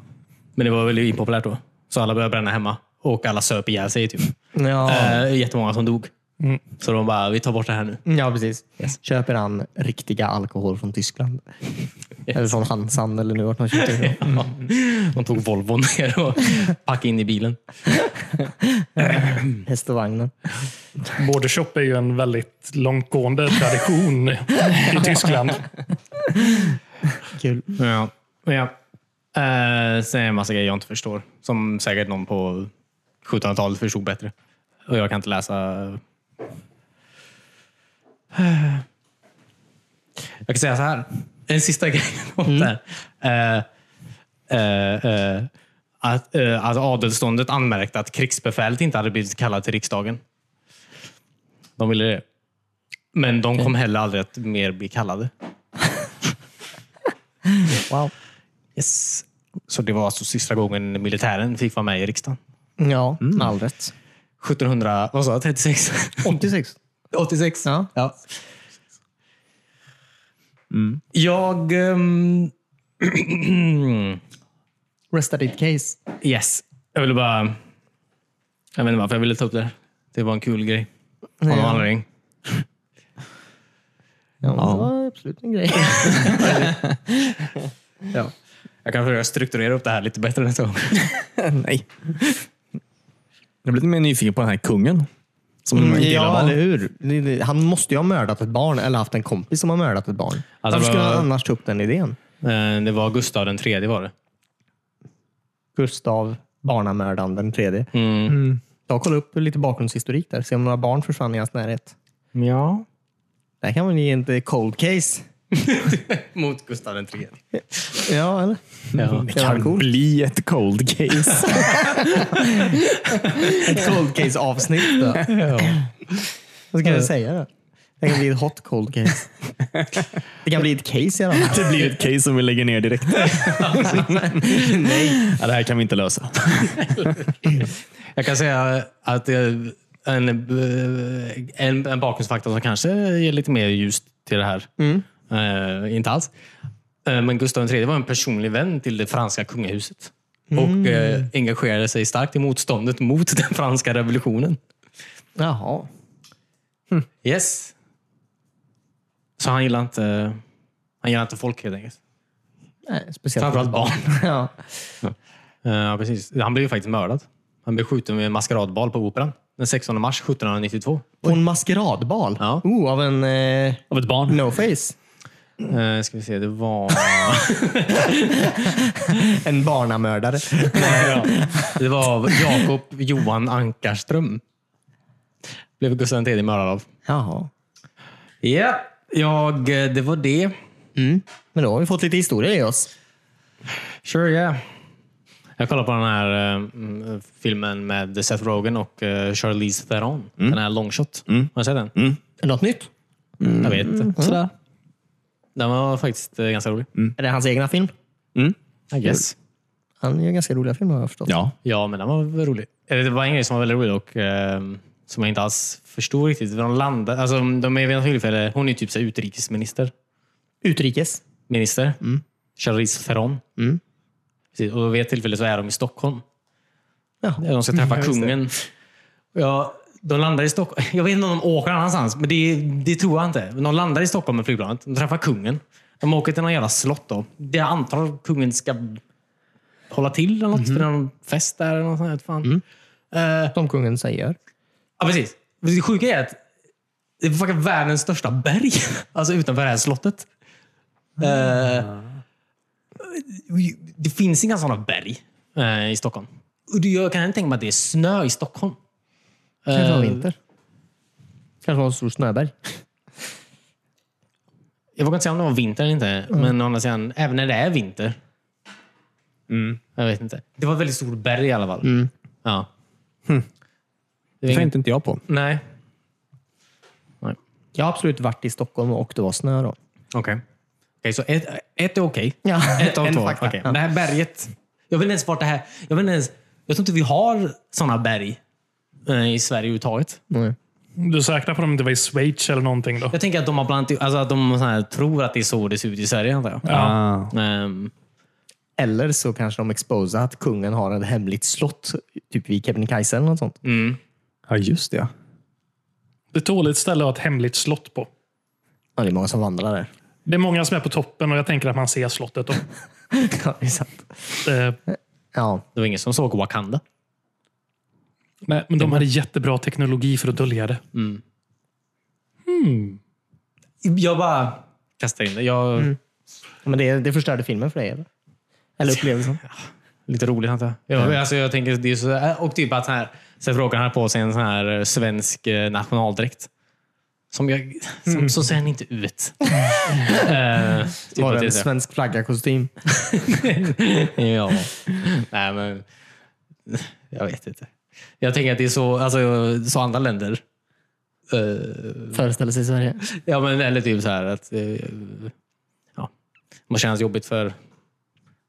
Men det var väldigt impopulärt då. Så alla började bränna hemma. Och alla söp ihjäl sig typ. Ja. Eh, jättemånga som dog. Så de bara, vi tar bort det här nu. ja, precis. Köper han riktiga alkohol från <laughs> Tyskland? Eller från Hansan eller nu vart man köpte det. <laughs> De tog Volvon ner och packade in i bilen. Häst och vagnen. Border shop är ju en väldigt långtgående tradition i Tyskland. Kul. Ja. ja. Eh, sen är det en massa grejer jag inte förstår. Som säkert någon på 1700-talet förstod bättre. Och jag kan inte läsa... Eh. Jag kan säga så här. En sista <laughs> grej om det här. Eh, eh, eh, att, eh, att adelståndet anmärkte att krigsbefälet inte hade blivit kallat till riksdagen. De ville det. Men de kom heller aldrig att mer bli kallade. Wow. Yes. Så det var alltså sista gången militären fick vara med i riksdagen. Ja, med Mm. all rätt. 1700, vad sa jag, <laughs> 36? 86. 86? Ja. Jag... ehm, <clears throat> Resta ditt case. yes. Jag ville bara... Jag vet inte varför jag ville ta upp det. här. Det var en kul grej. Av någon Ja. anledning. Ja, Det var absolut en <laughs> grej. Ja. Jag kan försöka strukturera upp det här lite bättre nästa gång. Nej. Jag blir lite mer nyfiken på den här kungen. Som inte gillar ja, barn. eller hur? Mm, Det- det- Han måste ju ha mördat ett barn eller haft en kompis som har mördat ett barn. Varför skulle vad- han annars ta upp den idén? Eh, Det var Gustav den tredje var det. Gustav, barnamördaren den tredje. Mm. Jag kollar upp lite bakgrundshistorik där. Se om några barn försvann i hans närhet. Ja. Det här kan man ge inte cold case. Mot Gustav den <laughs> tredje. Ja, eller? Ja. Det kan cool. Bli ett cold case. <laughs> Ett cold case avsnitt. Då. Vad ska jag säga då? Det kan bli ett hot cold case. Det kan bli ett case i alla fall. <laughs> det blir ett case som vi lägger ner direkt. Nej. Ja, det här kan vi inte lösa. Jag kan säga att eh, en, eh, en, en bakgrundsfaktor som kanske ger lite mer ljus till det här. Eh, inte alls. Eh, men Gustav III var en personlig vän till det franska kungahuset. Och eh, engagerade sig starkt i motståndet mot den franska revolutionen. Jaha. Yes. Så han gillar inte, han gillar inte folk helt enkelt. Nej, speciellt Framförallt barn. <laughs> Ja. Eh, Ja, precis. Han blev ju faktiskt mördad. Han blev skjuten vid en maskeradbal på Operan den 16 mars 1792. På en maskeradbal? Ja. Oh, av en eh, Av ett barn. no-face? Eh, ska vi se, det var... En barnamördare? Det var Jakob Johan Ankarström. Blev Gustav III mördad av. Jaha. Ja, jag, eh, det var det. Mm. Men då har vi fått lite historia i oss. Sure yeah. Jag kollade på den här eh, mm, filmen med Seth Rogen och eh, Charlize Theron. Den här Long Shot. Har du sett den? Något nytt? Jag vet Mm. inte. Den var faktiskt eh, ganska rolig. Är det hans egna film? I guess. Han gör ganska roliga filmer har jag förstått. Ja. Ja, men den var väl rolig. Eller det var en grej som var väldigt rolig och ehm, som jag inte alls förstod riktigt. För De landade, alltså, de är vid något tillfälle, hon är typ så här utrikesminister. Utrikes. Minister. Charlize Theron. Precis, och vid ett tillfälle så är de i Stockholm. Ja. Där de ska träffa kungen. Ja, de landar i Stockholm. <laughs> Jag vet inte om de åker någon annanstans, men det, det tror jag inte. Men De landar i Stockholm med flygplanet. De träffar kungen. De åker till någon jävla slott. Då. Det jag antar kungen ska hålla till eller något. För någon fest där eller något sånt. här, Fan. Eh, Som kungen säger. ja, precis. Det sjuka är att det är fucking världens största berg. <laughs> Alltså utanför det här slottet. Eh, det finns inga sådana berg eh, i Stockholm. Och du, jag kan inte tänka mig att det är snö i Stockholm. Kanske var Eh, vinter. Kanske var en stor snöberg. Jag vågar inte säga om det var vinter eller inte, men å andra sidan, även när det är vinter. Jag vet inte. Det var ett väldigt stort berg i alla fall. Ja. Det var Det inget- tänkte inte jag på. Nej. Jag har absolut varit i Stockholm och det var snö då. Okej. Okej, så ett, ett är okej. Ja, Ett av en två. fakta. Okej, Ja. men Det här berget. Jag vet inte ens vart det här... Jag, vet inte ens, jag tror inte vi har sådana berg eh, i Sverige överhuvudtaget. Nej. Du är säkra på att de inte var i Schweiz eller någonting då? Jag tänker att de, har bland, alltså att de så här, tror att det är så det ser ut i Sverige, antar jag. Ah. Ehm, Eller så kanske de exposar att kungen har ett hemligt slott, typ vid Kebnekaise eller något sånt. Ja, just det. ja. Det är ett dåligt ställe att ha ett hemligt slott på. Ja, det är många som vandrar där. Det är många som är på toppen och jag tänker att man ser slottet. Då. <laughs> ja, det är sant. Eh, Ja, det var ingen som såg Wakanda. nej, men de hade jättebra teknologi för att dölja det. Jag bara kastar in det. Jag, Mm. men det, det förstörde filmen för dig, eller? Eller upplevelsen? Lite roligt antar jag. Ja, men alltså, jag tänker, det är så, äh, och typ att så här, så frågan här på sig en sån här eh, svensk eh, nationaldräkt. Som jag, som, Mm. Så ser den inte ut. Eh, typ Var att det det är en så. svensk flagga-kostym? ja. <laughs> Nej, men jag vet inte. Jag tänker att det är så, alltså, så andra länder. eh, Föreställer sig Sverige. ja, men, eller typ så här att eh, ja, det måste kännas jobbigt för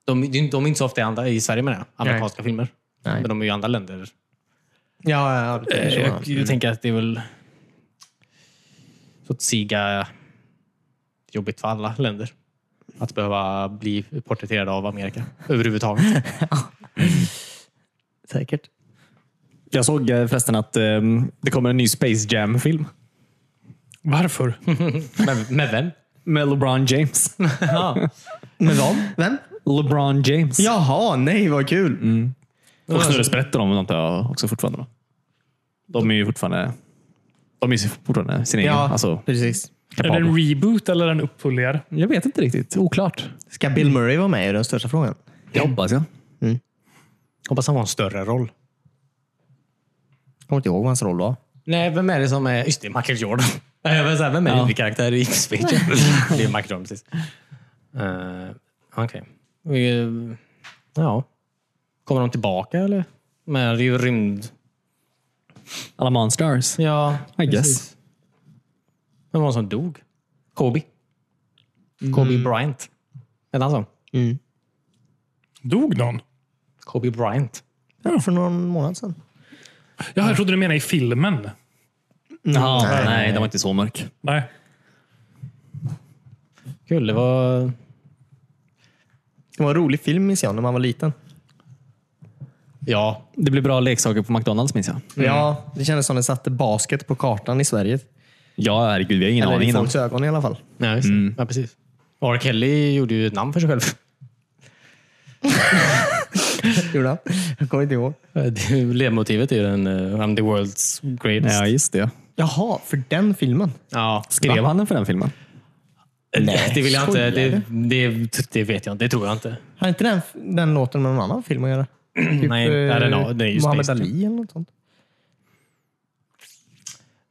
de, de är inte så ofta i, andra, i Sverige med det, amerikanska filmer. Nej. Men de är ju i andra länder. Ja, ja, det Eh, är så, ja. Jag, jag tänker att det är väl så att siga jobbigt för alla länder. Att behöva bli porträtterad av Amerika <laughs> överhuvudtaget. Säkert. Jag såg eh, förresten att ehm, det kommer en ny Space Jam-film. Varför? Med, med vem? Med LeBron James. <laughs> Ja. Men vad? Vem? LeBron James. Jaha, nej vad kul! Och Snurresprätten om antar jag också fortfarande. då. De är ju fortfarande... De är ju fortfarande sin egen. Ja, Alltså, precis. Är det kapabla. en reboot eller en uppföljare? Jag vet inte riktigt. Oklart. Ska Bill Murray vara med? är den största frågan. Det hoppas jag. Hoppas han har en större roll. Kommer inte ihåg vad hans roll var. Nej, vem är det som är... Just det, Michael Jordan. <laughs> Nej, jag vill säga, Vem är huvudkaraktär i X-Fiction? det är Michael Jordan, precis. Uh, Okej. Eh, Ja. Kommer de tillbaka eller? Med det är ju rymd... Alla Monstars. Ja, I guess. precis. Vem var det som dog? Kobe. Kobe Bryant. Hette han så? Dog någon? Kobe Bryant. Ja, för någon månad sedan. Ja, jag trodde du menade i filmen. Ja, nej, den var inte så mörk. Nej. Kul, det var... Det var en rolig film minns jag när man var liten. Ja. Det blir bra leksaker på McDonalds minns jag. Ja, det kändes som den satte basket på kartan i Sverige. Ja, herregud. Vi har ingen Eller aning i innan. folks ögon i alla fall. Ja, just. det. ja, precis. R. Kelly gjorde ju ett namn för sig själv. Gjorde han? Jag kommer inte ihåg. Det är ju- Ledmotivet är ju den eh, I'm the world's greatest. Ja, just det. Jaha, för den filmen? Ja. Skrev han den för den filmen? Nej, det vill jag inte. skojar Det, du? det, det vet jag inte. Det tror jag inte. Har inte den, den låten med någon annan film att göra? Typ, Nej, det är den- eh, det är ju Muhammad Space Jam. Ali eller något sånt.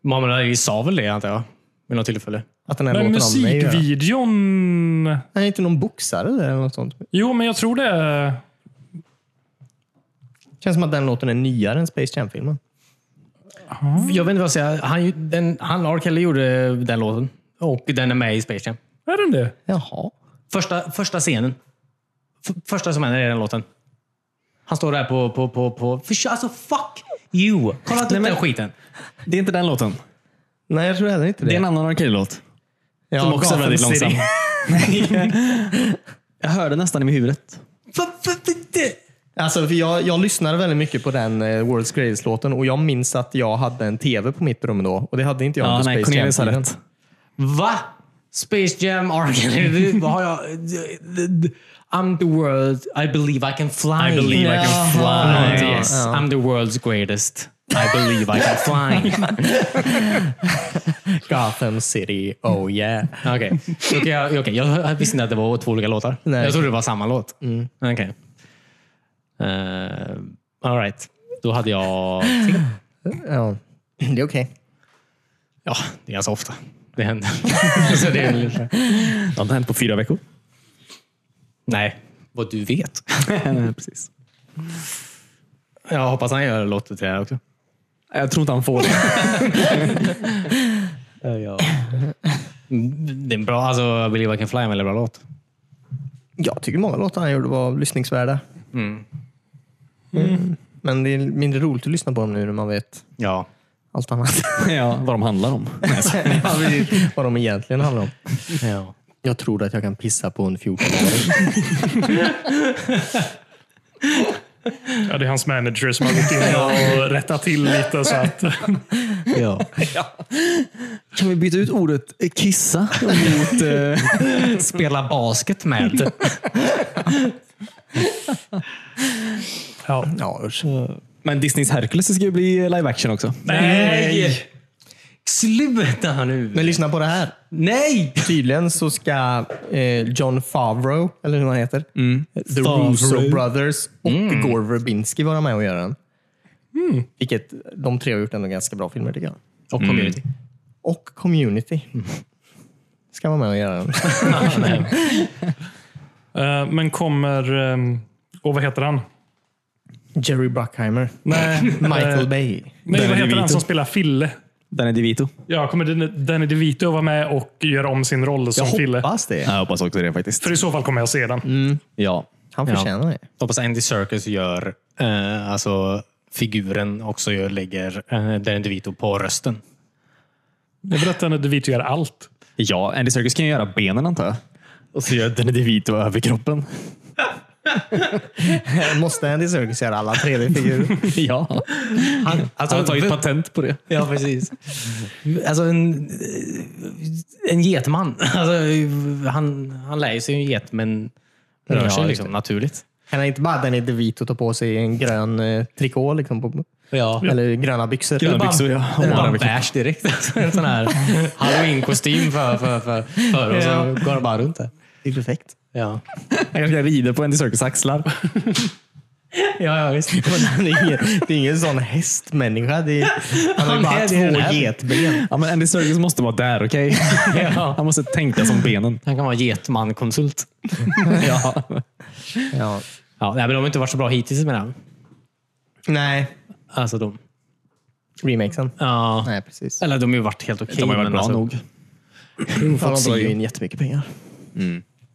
Muhammad Ali sa väl det, antar jag. Vid något tillfälle. Att den här Men låten har med att göra. musikvideon... Han är inte någon boxare där eller något sånt. Jo, men jag tror det är... Känns som att den låten är nyare än Space Jam-filmen. Jag vet inte vad jag säger. Han, ju- den, han R. Kelly gjorde den låten. Och den är med i Space Jam. Är den det? Jaha. Första, första scenen. F- första som händer är den låten. Han står där på... på, på, på för, alltså fuck you! Kolla inte upp den skiten. Det är inte den låten. Nej, jag tror heller inte det. Det är en annan Arcade-låt. ja, Som också är väldigt Gotham City. långsam. <laughs> jag hörde nästan i huvudet. Alltså, för jag, jag lyssnade väldigt mycket på den eh, World's Greatest-låten och jag minns att jag hade en tv på mitt rum då. Och det hade inte jag Ja, under nej, Space Cornelius har Jam-tiden. rätt. Va? Space Jam Arcade. Du, Vad har jag? I'm the world. I believe I can fly. I believe I can Jaha. fly. Yes. I'm the world's greatest. I believe I can fly. Gotham City, oh yeah. Okej, okay. jag, okej, jag visste inte att det var två olika låtar. Nej. Jag trodde det var samma låt. Mm. Okej. Eh, all right. Då hade jag... Ja. Det är okej. Ja, det är ganska ofta. Det händer. <laughs> Så det är väl inte- Det har inte hänt på fyra veckor. Nej, vad du <laughs> vet. Precis. Jag hoppas han gör låten till det här också. Jag tror inte han får det. Det är en bra, alltså, I believe I can fly är en väldigt bra låt. Jag tycker många låtar han gjorde var lyssningsvärda. Mm. Men det är mindre roligt att lyssna på dem nu när man vet Ja. allt annat. ja, vad de handlar om. <laughs> Ja, precis. <laughs> Vad de egentligen handlar om. ja. Jag tror att jag kan pissa på en 14-åring. Ja, det är hans manager som har gått in och rättat till lite. Så att, Kan vi byta ut ordet eh, kissa mot... eh, Spela basket med. ja. Ja, usch. Men Disneys Hercules ska ju bli live action också. <laughs> Nej! Sluta nu! Men lyssna på det här. Nej! Tydligen så ska eh, John Favreau, eller hur han heter, Mm. The Favreau. Russo Brothers och Gore Verbinski vara med och göra den. Vilket de tre har gjort ändå ganska bra filmer tycker jag. Mm. Och community. Och Community. Ska vara med och göra den. Eh, Men kommer... ehm, Och vad heter han? Jerry Bruckheimer. Nej, Michael eh, Bay. Nej, vad Danny heter han DeVito. som spelar Fille? Den är DeVito. Ja, kommer Den- Danny DeVito vara med och göra om sin roll som Jag Fille? hoppas det. Jag hoppas också det faktiskt. För i så fall kommer jag se den. Ja. Han Ja. förtjänar det. Hoppas Andy Serkis gör eh, alltså figuren också gör, lägger eh, Danny DeVito på rösten. Jag berättar när DeVito gör allt. Ja, Andy Serkis kan ju göra benen antar jag. Och så gör Danny DeVito överkroppen. Måste Andy Serkis göra alla 3D-figurer? <laughs> ja. Han, alltså, Han har tagit patent på det. <laughs> Ja, precis. Alltså en, en getman. <laughs> Alltså, han, han lär ju sig en get, men rör Ja, sig just liksom, naturligt. kan han inte bara Danny DeVito ta på sig en grön eh, trikå? Liksom, på, Ja. Eller gröna byxor? Gröna Eller bara- byxor, ja. Eller bara Bara- bärs direkt. <laughs> Alltså, en sån här halloween-kostym för, för, för, för och så går han bara runt där. Det är perfekt. Ja, Han kanske rider på Andy Serkis axlar. ja, <laughs> ja visst. Det är ingen, det är ingen sån hästmänniska. Det är, han har ju Han <laughs> bara är det här. två getben. Ja, men Andy Serkis måste vara där, okej? <laughs> Ja. Han måste tänka som benen. Han kan vara getman-konsult. <laughs> ja. Ja. Ja, nej, men de har inte varit så bra hittills med den. Nej, Alltså de. remakesen. Ja. Nej, precis. Eller de har ju varit helt okej. De har ju men varit alltså- bra <clears throat> nog. Han drar ju in jättemycket pengar.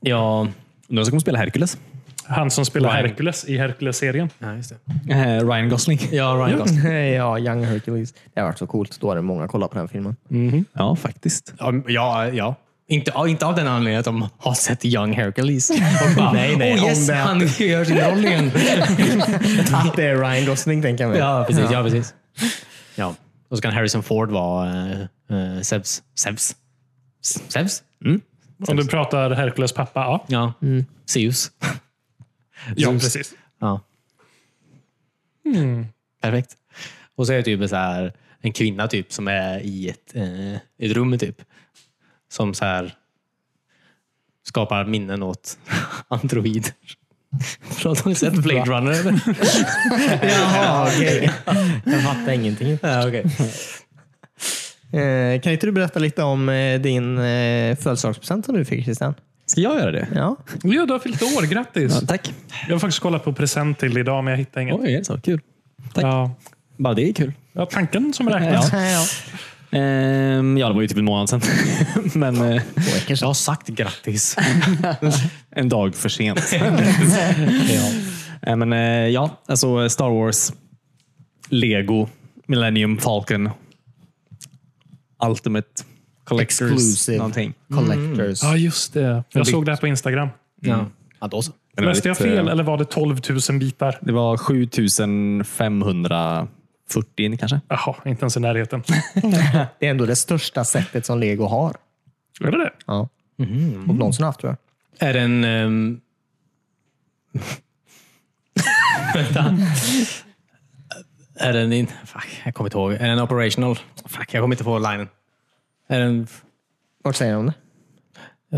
Ja. Nu ska de spela Hercules. Han som spelar Ryan. Hercules i Hercules-serien. ja, just det. Mm. Eh, Ryan Gosling. Ja, Ryan Gosling. <laughs> ja, Young Hercules. Det har varit så coolt. Då hade många kollat på den filmen. Ja, <laughs> faktiskt. Ja, ja. ja. Inte, ja, inte av den anledningen att de har sett Young Hercules. Och bara, <laughs> nej, nej. Oh, yes, om det- han gör sin roll <laughs> igen. Att det är Ryan Gosling, tänker jag mig. ja, precis. Ja, precis. Ja. Och så kan Harrison Ford vara eh, eh, Sebs. Sebs? Sebs? Om du pratar Hercules pappa, ja. Ja. Zeus. Ja, precis. Ja. Hmm. Perfekt. Och så är det typ så här, en kvinna typ som är i ett, eh, ett rum typ. Som så här skapar minnen åt <laughs> androider. Har du sett Blade Runner? eller? <laughs> Jaha, okej. Jag fattar ingenting. ja, okej. <laughs> Eh, kan inte du berätta lite om eh, din eh, födelsedagspresent som du fick Christian? Ska jag göra det? Ja. Ja, du har fyllt år. Grattis! tack. Jag har faktiskt kollat på present till idag, men jag hittade inget. Oj, är det så? Kul. Tack. Ja. Bara det är kul. ja, tanken som räknas. ja. Ehm, ja, det var ju typ en månad sedan. <laughs> Men eh, Jag <laughs> har sagt grattis. en dag för sent. ja. Eh, Men eh, ja, alltså Star Wars, Lego, Millennium Falcon, Ultimate Collectors, Exclusive. någonting. Mm. Collectors. Ja, just det. Jag såg det här på Instagram. Ja, då så. Läste jag fel eller var det 12 000 bitar? Det var 7540 kanske. Jaha, inte ens i närheten. Det är ändå det största sättet som Lego har. Är det det? Ja. Mm. Och någonsin haft tror jag. Är det en... ehm, <laughs> Vänta. Är den in... Fuck, jag kommer inte ihåg. Är den operational? Fuck, jag kommer inte på linen. Är den... Vart säger de det?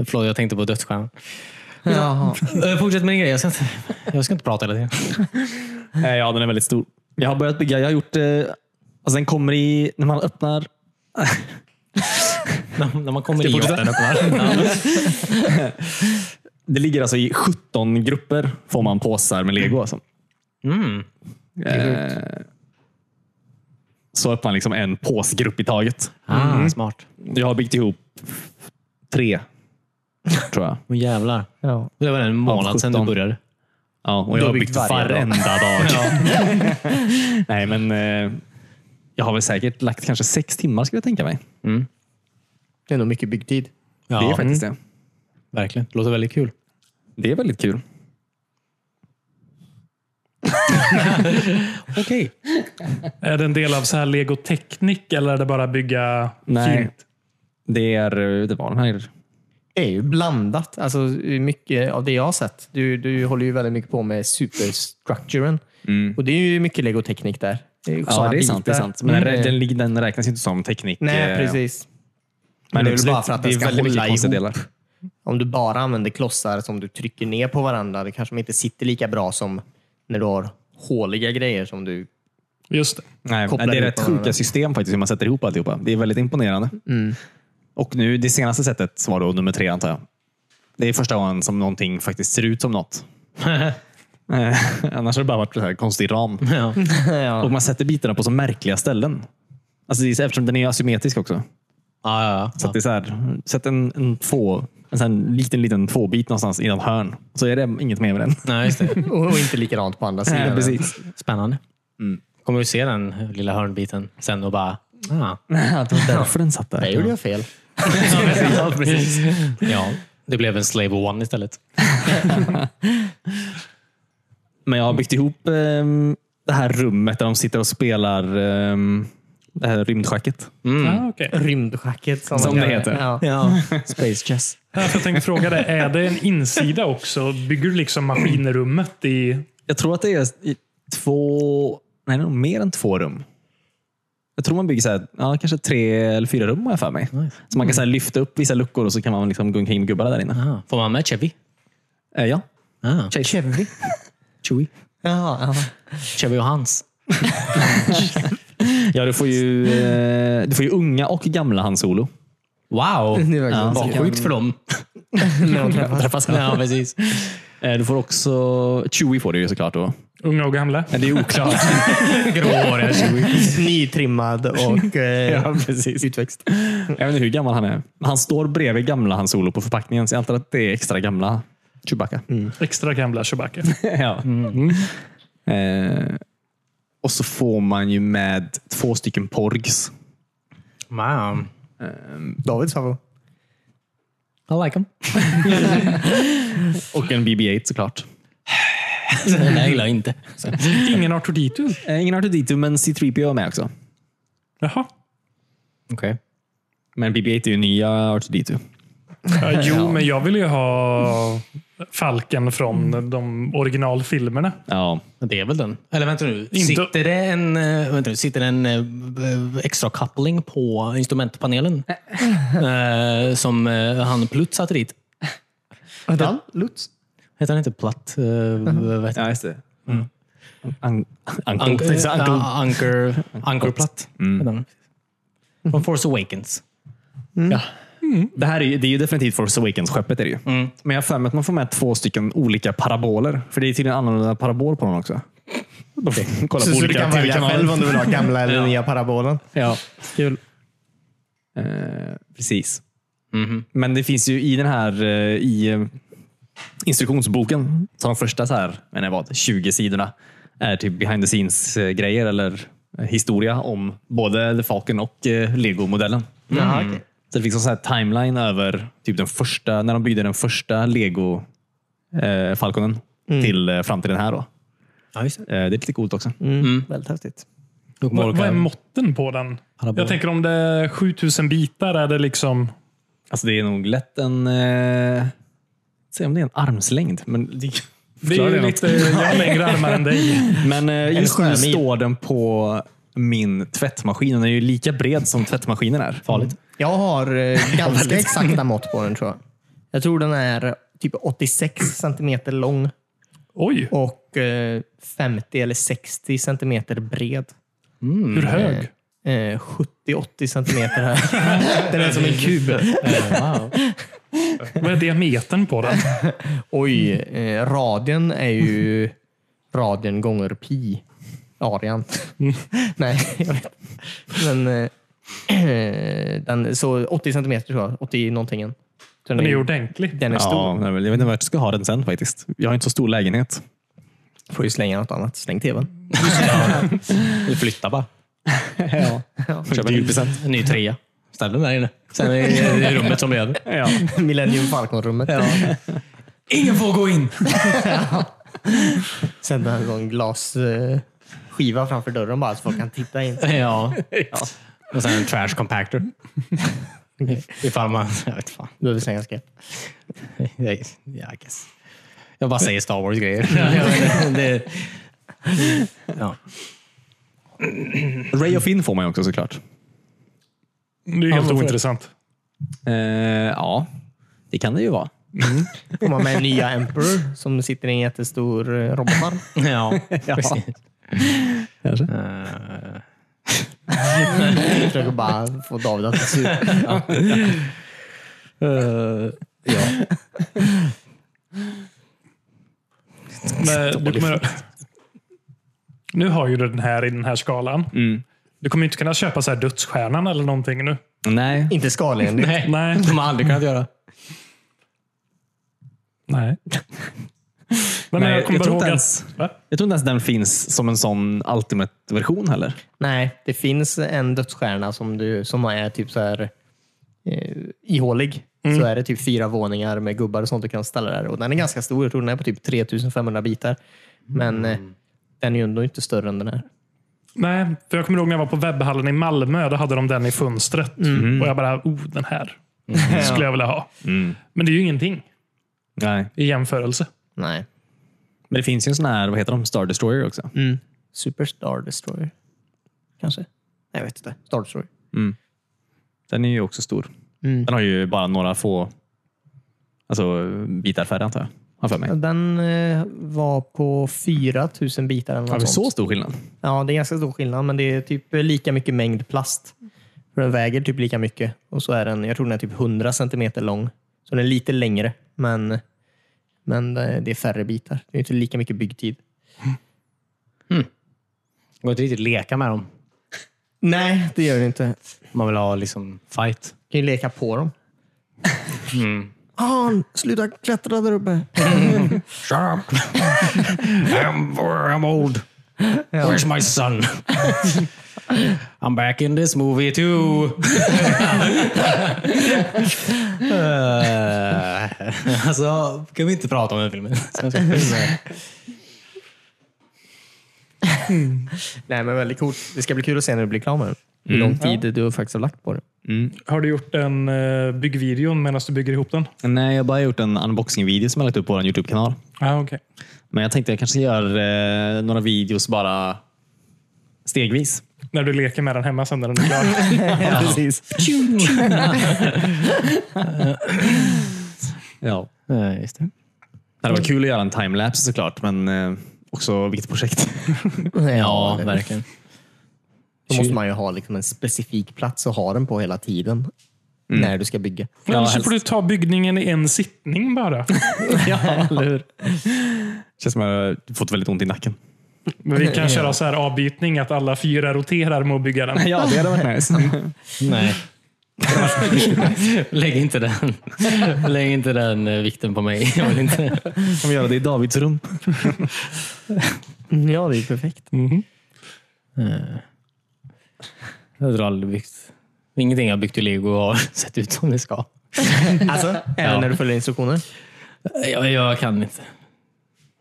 Förlåt, jag tänkte på dödsstjärnan. Jaha. <laughs> Eh, Fortsätt med din grej. Jag ska inte, jag ska inte prata hela tiden. Eh, Ja, den är väldigt stor. Jag har börjat bygga. Jag har gjort... Eh, alltså den kommer i... När man öppnar... när, när man kommer Ska i jag fortsätta? åttan öppnar. Ja. <laughs> Det ligger alltså i 17 grupper får man påsar med lego. Alltså. Mm. Eh, så öppnar man liksom en påsgrupp i taget. Mm. Ah, Smart. Jag har byggt ihop tre. Tror jag. Åh jävlar. Ja. Det var en månad sedan du 17. började. Ja, och jag har byggt varenda dag. <laughs> Nej, men eh, jag har väl säkert lagt kanske sex timmar skulle jag tänka mig. Det är nog mycket byggtid. Ja, Mm. det är faktiskt det. verkligen. Det låter väldigt kul. Det är <laughs> väldigt kul. Okej. Är det en del av så här Lego Teknik eller är det bara bygga Nej. fint? Det, är, eh, det var den här Det är ju blandat. Alltså, mycket av det jag har sett. Du, du håller ju väldigt mycket på med superstructuren. Och det är ju mycket legoteknik där. Det är ju sådana Mm. Ja, det är sant. Det är bitar. sant. Men Mm. den, den, lig- den räknas ju inte som teknik. Nej, eh, precis. Men Men det är väl absolut, bara för att det den är ska väldigt mycket hålla ihop. konstiga delar. Om du bara använder klossar som du trycker ner på varandra, det kanske inte sitter lika bra som när du har håliga grejer som du... Just det. Nej, Kopplar det är ihop rätt varandra. sjuka system faktiskt, hur man sätter ihop alltihopa. Det är väldigt imponerande. Och nu, det senaste sättet var då nummer tre, antar jag. Det är första gången som någonting faktiskt ser ut som något. Eh, <laughs> Annars har det bara varit så här konstig ram. <laughs> Ja. ja. Och man sätter bitarna på så märkliga ställen. Alltså det är, så- eftersom den är asymmetrisk också. Ja, ja, ja. Så att det är så här, sätt en, en, två, en sån här liten, liten tvåbit någonstans i något hörn. Så är det inget mer med <laughs> den. Nej, just <laughs> det. Och inte likadant på andra sidan. <laughs> Nej, precis. Spännande. Kommer du se den lilla hörnbiten sen och bara... Ah. det var därför den satt Där där. gjorde jag fel. <laughs> ja, precis. Ja, det blev en Slave One istället. Men jag har byggt ihop ehm, det här rummet där de sitter och spelar ehm, det här rymdschacket. Ah, okej. Rymdschacket som, Som man kallar det heter. Ja. <laughs> Ja. Space chess. Ja, för Jag tänkte fråga dig, är det en insida också? Bygger du liksom maskinrummet i... Jag tror att det är i två, nej det är nog mer än två rum. Jag tror man bygger så här, ja, kanske tre eller fyra rum har jag för mig. Så man kan så här lyfta upp vissa luckor och så kan man liksom gå omkring med gubbarna där inne. Ah. Får man med Chevy? Eh, ja. Ah. Chevy. Chewy. Ja, ja. Chevy och hans. ja, du får ju eh, du får ju unga och gamla Han Solo. Wow! Det är verkligen Ja, så. Sjukt för <laughs> dem. När de träffas. Träffas. Ja, precis. Eh, du får också, Chewie får du ju såklart då. Unga och gamla? Men det är oklart. <laughs> Gråhåriga Chewy. <laughs> Nytrimmad och eh, <laughs> ja, precis. utväxt. Jag vet inte hur gammal han är. Han står bredvid gamla Han Solo på förpackningen, så jag antar att det är extra gamla Chewbacca. Mm. Extra gamla Chewbacca. <laughs> ja. Eh, och så får man ju med två stycken Porgs. Wow. Davids favorit. I like them. <laughs> Och en BB-8 såklart. Nej, gillar jag inte. Ingen Artoditu? Eh, ingen R2D2, men C3PO är med också. Jaha. Okej. Men BB-8 är ju nya R2D2. Ja, Eh, jo, men jag vill ju ha Falken från de originalfilmerna. Ja. Men Det är väl den. Eller vänta nu. Inte- Sitter det en, eh, vänta nu, sitter det en eh, b- extra koppling på instrumentpanelen? eh, som eh, han Plutt satte dit. Hette han Lutz? Heter han inte Platt? Eh, vad heter han? ja, just det. Mm. An- Uncle. Anker, Uncle. Mm. Anker, Anker, Ankerplatt. Heter han. Från Force Awakens. Det här är ju, det är ju definitivt Force Awakens-skeppet. Är det ju. Mm. Men jag har för mig att man får med två stycken olika paraboler. För det är tydligen annorlunda parabol på dem också. De får <laughs> kolla Så, på så du olika kan välja TV-kanaler. själv om du vill ha gamla <laughs> eller nya parabolen. Ja, kul. Mhm. precis. Men det finns ju i den här, eh, i eh, instruktionsboken. Så de första så här, men det var 20 sidorna är typ behind the scenes eh, grejer eller eh, historia om både The Falcon och eh, Lego-modellen. Jaha, okej. Så det finns en sån här timeline över typ den första, när de byggde den första Lego eh, Falconen till eh, fram till den här. Då. Ja, just det. Eh, det är lite coolt också. Väldigt häftigt. Vad, vad är måtten på den? Parabol. Jag tänker om det är 7000 bitar, är det liksom... Alltså det är nog lätt en... Eh, se om det är en armslängd. Men, det, <laughs> Det är ju lite, jag har längre armar än dig. men eh, just nu skärmid. står den på min tvättmaskin. Den är ju lika bred som tvättmaskinen är. Farligt. Jag har <laughs> eh, ganska exakta mått på den tror jag. Jag tror den är typ 86 centimeter lång Oj, och eh, 50 eller 60 centimeter bred. Mm. hur hög? Eh, 70-80 centimeter <laughs> här. den är som en kub. Vad är diametern på den? Oj, eh, radien är ju radien gånger pi. <laughs> Arian. Nej, jag vet Men eh, <clears throat> den, så 80 centimeter tror jag. 80 någonting. Den Den är ju- ju ordentlig. Den är stor. Ja, nej, men jag vet inte vart jag ska ha den sen faktiskt. Jag har inte så stor lägenhet. Får ju slänga något annat. Släng tvn. <laughs> Eller flytta bara. Köpa en julpresent. En ny trea. Ställ den där inne. Sen är det i rummet som leder. <laughs> Ja. Millennium Falcon-rummet. Ingen får gå in! Sen en sån glasskiva eh, skiva framför dörren bara så folk kan titta in. <laughs> Ja. Och sen en trash <laughs> compactor. Ifall man... Jag vet fan. Du behöver slänga skräp. Ja, I guess. Jag bara säger Star Wars-grejer. <laughs> Jag vet inte, det- ja. Ray of In får man ju också såklart. Det är helt ointressant. Eh, ja, det kan det ju vara. Får man med nya Emperor som sitter i en jättestor eh, robotarm. <laughs> <laughs> Ja, Precis. precis. Eh, Försöker bara få David att bli sur. Men du kommer, nu har ju du den här i den här skalan. Mm. Du kommer ju inte kunna köpa så här dödsstjärnan eller någonting nu. Nej. Inte skalenligt. Nej, Nej. de har aldrig kunnat göra. Nej. Men Nej, jag kommer jag tror bara ihåg inte att... ens- Va? Jag tror inte ens den finns som en sån Ultimate-version heller. Nej, det finns en dödsstjärna som, du, som är typ så här eh, ihålig. Mm. Så är det typ fyra våningar med gubbar och sånt du kan ställa där. Och den är ganska stor. Jag tror den är på typ 3500 bitar. Men eh, Mm. den är ju ändå inte större än den här. Nej, för jag kommer ihåg när jag var på webbhallen i Malmö. Då hade de den i fönstret. Mm. Och jag bara, oh, den här <laughs> skulle jag vilja ha. Mm. Men det är ju ingenting Nej. i jämförelse. Nej. Men det finns ju en sån här, vad heter de, Star Destroyer också. Superstar Destroyer. Kanske? Nej, jag vet inte. Star Destroyer. Den är ju också stor. Den har ju bara några få alltså, bitar färre antar jag. Har för mig. Ja, Den eh, var på 4000 bitar eller Har något vi sånt. så stor skillnad? Ja, det är ganska stor skillnad, men det är typ lika mycket mängd plast. För den väger typ lika mycket. Och så är den, jag tror den är typ 100 centimeter lång. Så den är lite längre, men, men eh, det är färre bitar. Det är inte lika mycket byggtid. Det går inte riktigt att leka med dem. Nej, det gör det inte. Man Man vill ha liksom fight. kan ju leka på dem. Han, sluta klättra där uppe. Shut up! <laughs> I'm, I'm old. Where's my son? <laughs> I'm back in this movie <laughs> too. Eh, alltså, kan vi inte prata om den <laughs> filmen? Nej, men väldigt coolt. Det ska bli kul att se när du blir klar med den. Hur Mm. lång tid du faktiskt har lagt på det. Har du gjort en eh, byggvideon medan du bygger ihop den? Nej, jag har bara gjort en unboxing-video som jag lagt upp på vår Youtube-kanal. Ja, okej. Men jag tänkte jag kanske gör eh, några videos bara stegvis. När du leker med den hemma sen när den är <laughs> <laughs> klar. Precis. Ja. Nej, just det. Det hade varit kul att göra en timelapse såklart, men eh, också vilket projekt. Ja, Ja, verkligen. Då måste man ju ha liksom en specifik plats att ha den på hela tiden. Mm. När du ska bygga. Men Annars så helst. får du ta byggningen i en sittning bara. ja, eller hur? Känns som att jag har fått väldigt ont i nacken. Men vi kan köra så här avbytning att alla fyra roterar med att bygga <laughs> den. Ja, det hade varit nice. Nej. <laughs> Lägg inte den, lägg inte den eh, vikten på mig. Jag vill inte. Kan vi göra det i Davids rum? Mm, Ja, det är perfekt. Jag har aldrig byggt. Ingenting jag byggt i lego har sett ut som det ska. Mm. Alltså, även när du följer instruktioner. Jag, jag kan inte.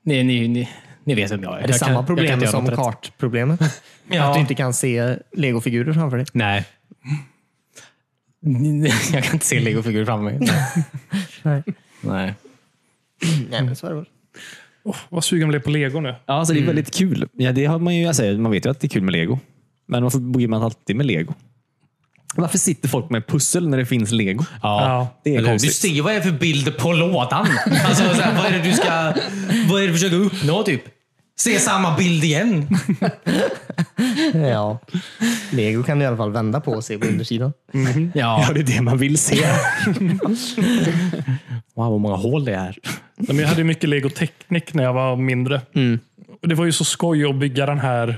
Ni, ni, ni, ni vet vem jag är. Är det jag samma kan, jag kan problem inte göra som något rätt. kartproblemet? Ja. Att du inte kan se legofigurer framför dig? Nej. Jag kan inte se legofigurer framför mig. Nej. Nej. Nej, men så är det väl. Åh, vad sugen jag blev på lego nu. Ja, alltså det är väldigt kul. Ja, det har man, ju, alltså, man vet ju att det är kul med lego. Men varför bygger man alltid med lego? Varför sitter folk med pussel när det finns lego? Ja. Det är Eller hur? Du konstigt. ser vad det är för bild på lådan. Alltså, så här, vad är det du ska vad är det du försöker uppnå? typ? Se samma bild igen. Mm. Ja. Lego kan du i alla fall vända på och se på undersidan. Ja. Ja, det är det man <laughs> vill se. Wow, vad många hål det är. Nej, Men jag hade ju mycket Lego Teknik när jag var mindre. Och Det var ju så skoj att bygga den här eh,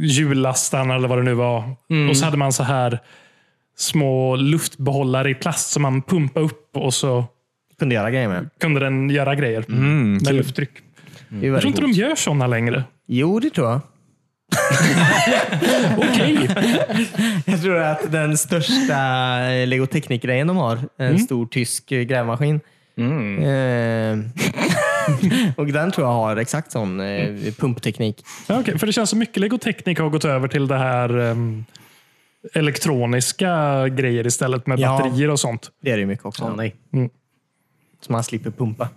hjullastaren eller vad det nu var. Och så hade man så här små luftbehållare i plast som man pumpade upp och så Kunde göra grejer med. kunde den göra grejer med lufttryck. Det är Mm. Jag tror Mm, väldigt inte coolt. de gör sådana längre. Jo, det tror jag. Okej. Jag tror att den största eh, Lego Teknik-grejen de har, en Mm. stor tysk eh, grävmaskin. Eh, <laughs> och den tror jag har exakt sån eh, Mm. pumpteknik. Ja, okej, För det känns så mycket Lego Teknik har gått över till det här ehm, elektroniska grejer istället med Ja. batterier och sånt. Det är det ju mycket också. Åh, nej. Så man slipper pumpa.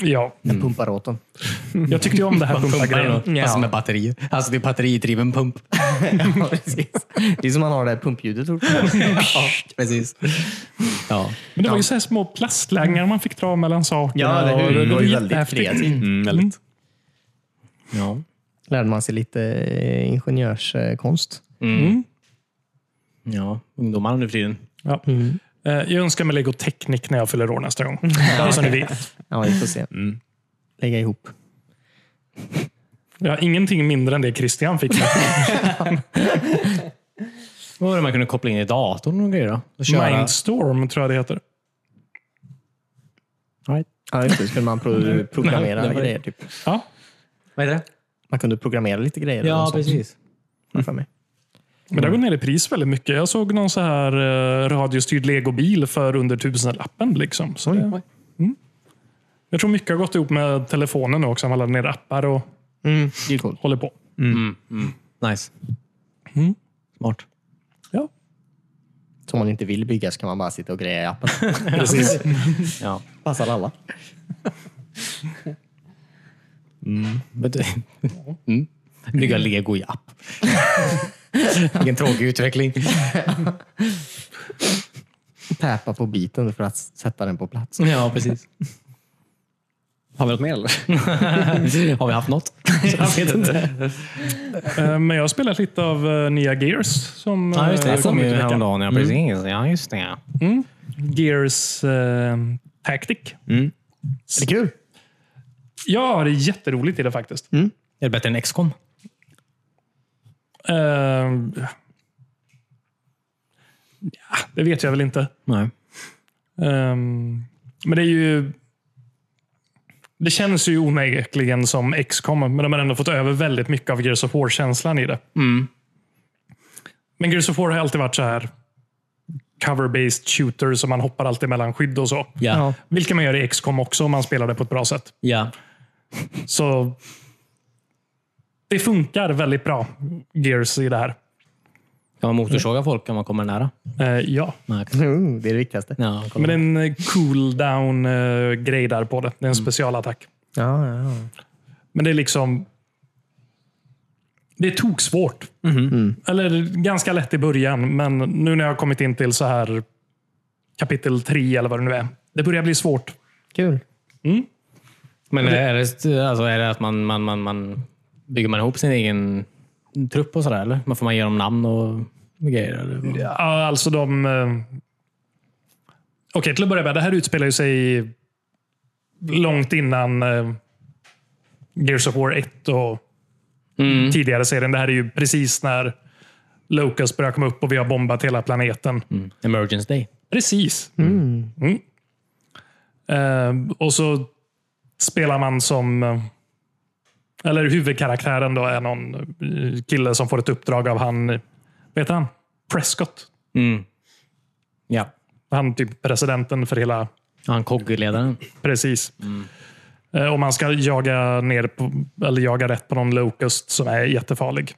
Ja, Den Mm. pumpar åt dem. <laughs> jag tyckte ju om det här pumpa-grejen. Pumpar då. Alltså med batterier. Alltså det är batteridriven pump. Ja, precis. Det är som man har det här pumpljudet. tror <laughs> jag. Precis. Ja. Men det var ju så här små plastlängar man fick dra mellan sakerna. Ja, eller hur? och Mm. Det var ju väldigt jättehäftigt. kreativt. Mm, väldigt. Mm. ja. Lärde man sig lite eh, ingenjörskonst. Ja, ungdomarna nu för tiden. Ja. Mm. Eh, Jag önskar mig Lego Teknik när jag fyller år nästa gång. Bara så <laughs> ni vet. Ja, vi får se. Mm. Lägga ihop. Jag har ingenting mindre än det <laughs> Christian fick. Vad var det man kunde koppla in i datorn och grejer då? Och köra- Mindstorm tror jag det heter. Ja, just det. Så kunde man pro- <laughs> Nej, programmera det var det. grejer. Typ. Ja, Vad är det? Man kunde programmera lite grejer. eller Ja, något sånt, precis. har jag för mig. men det har gått ner i pris väldigt mycket. Jag såg någon så här eh, radiostyrd legobil för under tusenlappen. Liksom. Så det, mm. Jag tror mycket har gått ihop med telefonen nu också. Man laddar ner appar och Mm, det är coolt. håller på. Nice. Smart. Ja, Som man inte vill bygga så kan man bara sitta och greja i <laughs> appen. precis. Ja. Passar alla. Mm. Bygga lego i <laughs> app. Vilken tråkig utveckling. Täpa på biten för att sätta den på plats. Ja, precis. Har vi något mer eller? Har vi haft något? Jag vet inte. Eh, Men jag har spelat lite av eh, nya Gears. Som Ja, just det. eh, Det kom ut ju i veckan. häromdagen. Ja, Mm. precis. Ja, just det. ja. Mm. Gears eh, Tactic. Är det kul? Ja, det är jätteroligt i det faktiskt. Är det bättre än X-com? Ehm, ja, det vet jag väl inte. Nej. Ehm, men det är ju... Det känns ju onekligen som X-com, men de har ändå fått över väldigt mycket av Gears of War-känslan i det. Men Gears of War har alltid varit så här cover-based shooter, så man hoppar alltid mellan skydd och så. Ja. Vilket man gör i X-com också om man spelar det på ett bra sätt. Ja. Så det funkar väldigt bra, Gears, i det här. Kan man motorsåga folk om man kommer nära? Eh, ja. Nej. Mm, det är det viktigaste. Ja, kolla. Men det är en eh, cool-down-grej där på det. Det är en specialattack. Ja, ja, ja. Men det är liksom... Det är toksvårt. Eller ganska lätt i början, men nu när jag har kommit in till så här kapitel 3 eller vad det nu är. Det börjar bli svårt. Kul. Men är det, alltså, är det att man, man, man, man bygger man ihop sin egen trupp och sådär? Eller man får man ge dem namn och grejer? Eller? vad? Ja, alltså de... eh, Okej, till att börja med. Det här utspelar ju sig långt innan eh, Gears of War 1 och tidigare serien. Det här är ju precis när Locust börjar komma upp och vi har bombat hela planeten. Emergence Mm. Day. Precis. Mm. Eh, och så spelar man som... eh, Eller huvudkaraktären då är någon eh, kille som får ett uppdrag av han... Vet han? Prescott. Ja. Han typ presidenten för hela... Han Kogge-ledaren. Precis. Eh, och man ska jaga ner på, eller jaga rätt på någon locust som är jättefarlig.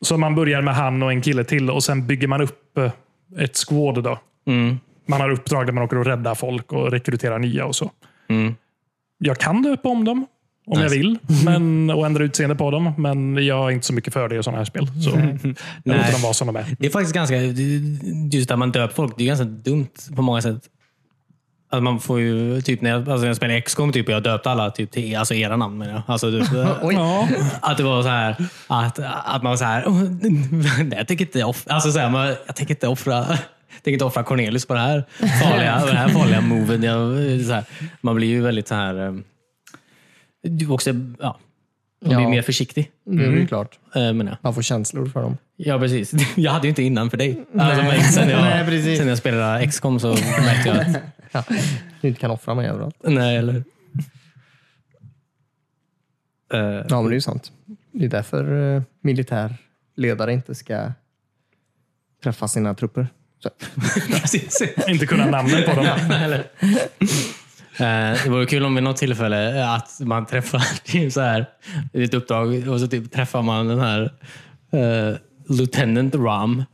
Så man börjar med han och en kille till och sen bygger man upp eh, ett squad. Då. Man har uppdrag där man åker och räddar folk och rekryterar nya och så. Jag kan döpa om dem om jag vill men, och ändra utseende på dem, men jag är inte så mycket för det i sådana här spel. Så jag låter Nej. dem vara som de är. Det är faktiskt ganska... Just att man döper folk, det är ganska dumt på många sätt. Alltså man får ju, typ när jag, alltså när jag spelade XCOM typ, jag döpte alla typ, till alltså era namn menar jag. <laughs> Alltså, typ, Oj. att det var så här, att, att man var så här, "Åh, <laughs> nej, jag tänker inte offra, alltså så här, man, jag tänker inte offra, <laughs> jag tänker inte offra Cornelius på det här farliga, på det här farliga moven. Jag, så här, man blir ju väldigt så här, eh, du också, ja, man blir Ja. mer försiktig Det är ju klart. eh, menar jag. Man får känslor för dem. Ja, precis. <laughs> Jag hade ju inte innan för dig. Alltså, men sen, jag, Nej, precis. sen jag spelade XCOM så märkte jag att... Ja. Du inte kan offra mig överallt. Nej, eller Eh, Ja, men det är ju sant. Det är därför eh, militärledare inte ska träffa sina trupper. Så. <laughs> precis. Inte kunna namnen <laughs> på dem. Nej, eller? Eh, det vore kul om vid något tillfälle eh, att man träffar <laughs> typ så här, i ett uppdrag och så typ träffar man den här eh, Lieutenant Ram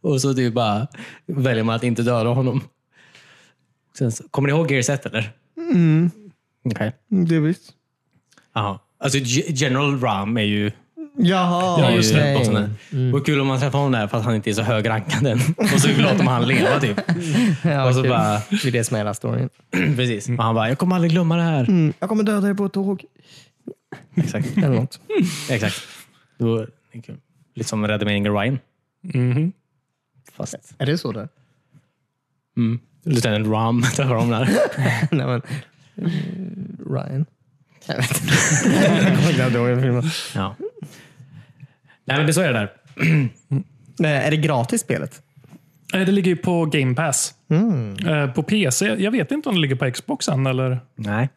och så typ bara väljer man att inte döda honom. Sen, så- kommer ni ihåg Gears 1 eller? Mm. Okej. Det är visst. Jaha. Alltså G- General Ram är ju... Jaha, är ju okej. bossen där. Och kul om man träffar honom där för att han inte är så hög rankad än. Och så låter man han leva typ. <clears throat> Ja, Och så okej. bara- Det är det som är hela storyn. Precis. Och han bara, jag kommer aldrig glömma det här. Jag kommer döda dig på ett tåg. Exakt. Eller något. Exakt. Det var det är kul. lite som Rädda Meningen Ryan. Mhm. Fast Är det så det Lieutenant Ram <laughs> träffar honom där. <laughs> Nej, men... eh, Ryan? Jag vet inte. Jag kommer inte ihåg den filmen. Ja. Nej men det så är det där. Nej, är det gratis spelet? Eh, Det ligger ju på Game Pass. Mm. Eh, På PC. Jag vet inte om det ligger på Xbox än. Eller? Nej.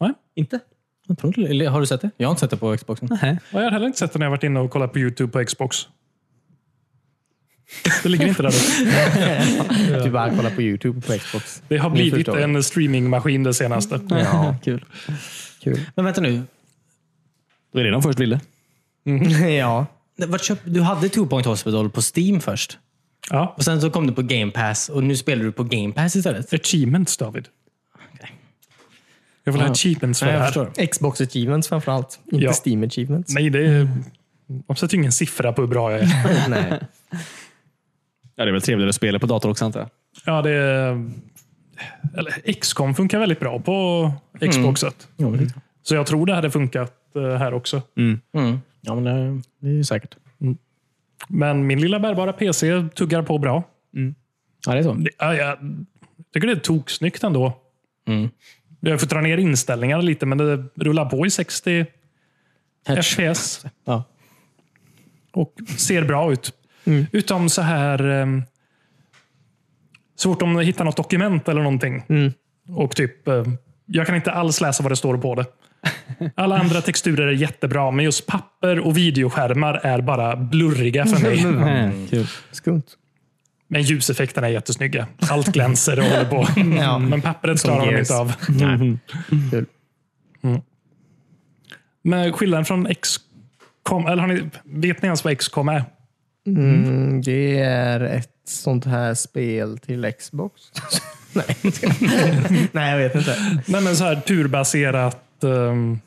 Nej. Inte? Jag tror inte Eller har du sett det? Jag har inte sett det på Xboxen. Och Jag har heller inte sett det när jag varit inne och kollat på YouTube på Xbox. Det ligger <laughs> inte där. Du bara kollar på Youtube och på Xbox. Det har Ni blivit förstår. en streamingmaskin det senaste. Mm. Ja, Kul. kul. <laughs> Men vänta nu. Det var det de först ville. ja. Vart köp, du hade Two Point Hospital på Steam först. Ja. Och sen så kom du på Game Pass och nu spelar du på Game Pass istället. Achievements, David. Jag vill ha achievements för Nej, det jag här. förstår. Xbox achievements framförallt. Inte Ja. Steam achievements. Nej, det är... De sätter ju ingen siffra på hur bra jag är. Nej. Ja, det är väl trevligare att spela på dator också antar jag. Ja, det är... Eller, XCOM funkar väldigt bra på Mm. Xboxet. Så jag tror det hade funkat eh, här också. Mm. Mm. Ja, men det, det är ju säkert. Men min lilla bärbara PC tuggar på bra. Ja, det är så. Det- Ja, jag tycker det är toksnyggt ändå. Jag får dra ner inställningarna lite, men det rullar på i 60 FPS Ja. och ser bra ut. Utom så här... ehm, Svårt om att hitta något dokument eller någonting. Och typ, eh, jag kan inte alls läsa vad det står på det. Alla andra texturer är jättebra, men just papper och videoskärmar är bara blurriga för mig. Mm. Kul. Skumt. Men ljuseffekterna är jättesnygga. Allt glänser och håller på. <laughs> Ja. Men pappret klarar de Gears. inte av. Kul. Men skillnaden från XCOM, eller har ni, vet ni ens vad XCOM är? Mm, det är ett sånt här spel till Xbox. <laughs> Nej, jag skojar. Nej, jag vet inte. Nej, men så här turbaserat, ehm,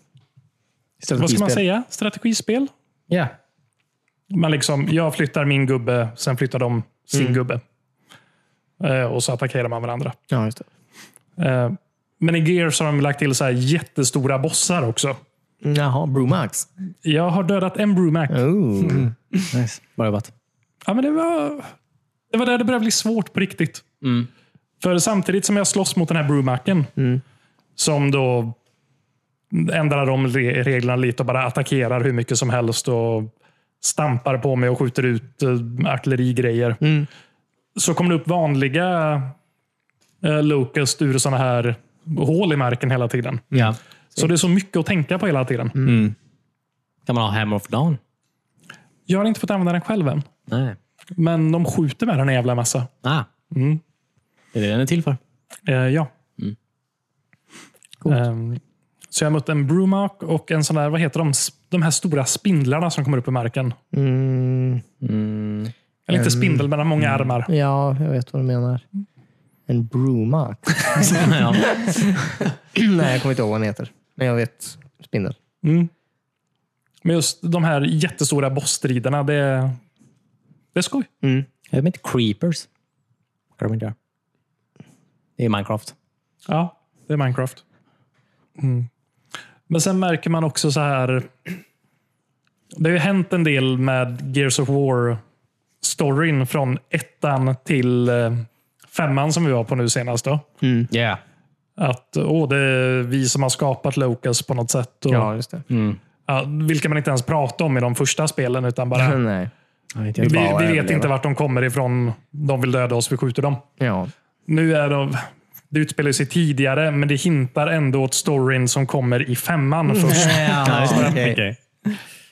vad ska man säga? Strategispel? Ja. Man liksom, jag flyttar min gubbe, sen flyttar de sin Mm. gubbe. Eh, och så attackerar man varandra. Ja, just det. Eh, men i Gears har de lagt till så här jättestora bossar också. Jaha, Brumax. Jag har dödat en Brumac. Oh. Nice. Bra jobbat. Ja, men det var, det var där det började bli svårt på riktigt. För samtidigt som jag slåss mot den här brewmacken, som då ändrar om re- reglerna lite och bara attackerar hur mycket som helst och stampar på mig och skjuter ut eh, artillerigrejer. Så kom det upp vanliga eh, Locust ur sådana här hål i marken hela tiden. Ja. Så det är så mycket att tänka på hela tiden. Kan man ha Hammer of Dawn? Jag har inte fått använda den själv än. Nej. Men de skjuter med den en jävla massa. Ah. Mm. Det är det den är till <laughs> för. Eh, ja. Ehm, så jag har mött en Brumark och en sån där, vad heter de? S- De här stora spindlarna som kommer upp i marken. Mm, Eller inte spindel, men de har många armar. ja, jag vet vad du menar. En bruma. ja. <clears throat> Nej, jag kommer inte ihåg vad den heter. Men jag vet spindel. Men just de här jättestora bossstriderna, det, är- det är skoj. Jag vet inte, Creepers. Kan de inte göra. Det är Minecraft. Ja, det är Minecraft. Mm. Men sen märker man också så här. Det har ju hänt en del med Gears of War-storyn från ettan till eh, femman som vi var på nu senast. Då. Ja. Att åh, det är vi som har skapat Locus på något sätt. Och, Ja, just det. ja, vilka man inte ens pratar om i de första spelen. <laughs> utan bara Mm. <clears throat> Nej. Vi, bara vi vet överleva. inte vart de kommer ifrån. De vill döda oss, vi skjuter dem. Ja. Nu är de... Det utspelar sig tidigare, men det hintar ändå åt storyn som kommer i <laughs> femman först. Ja,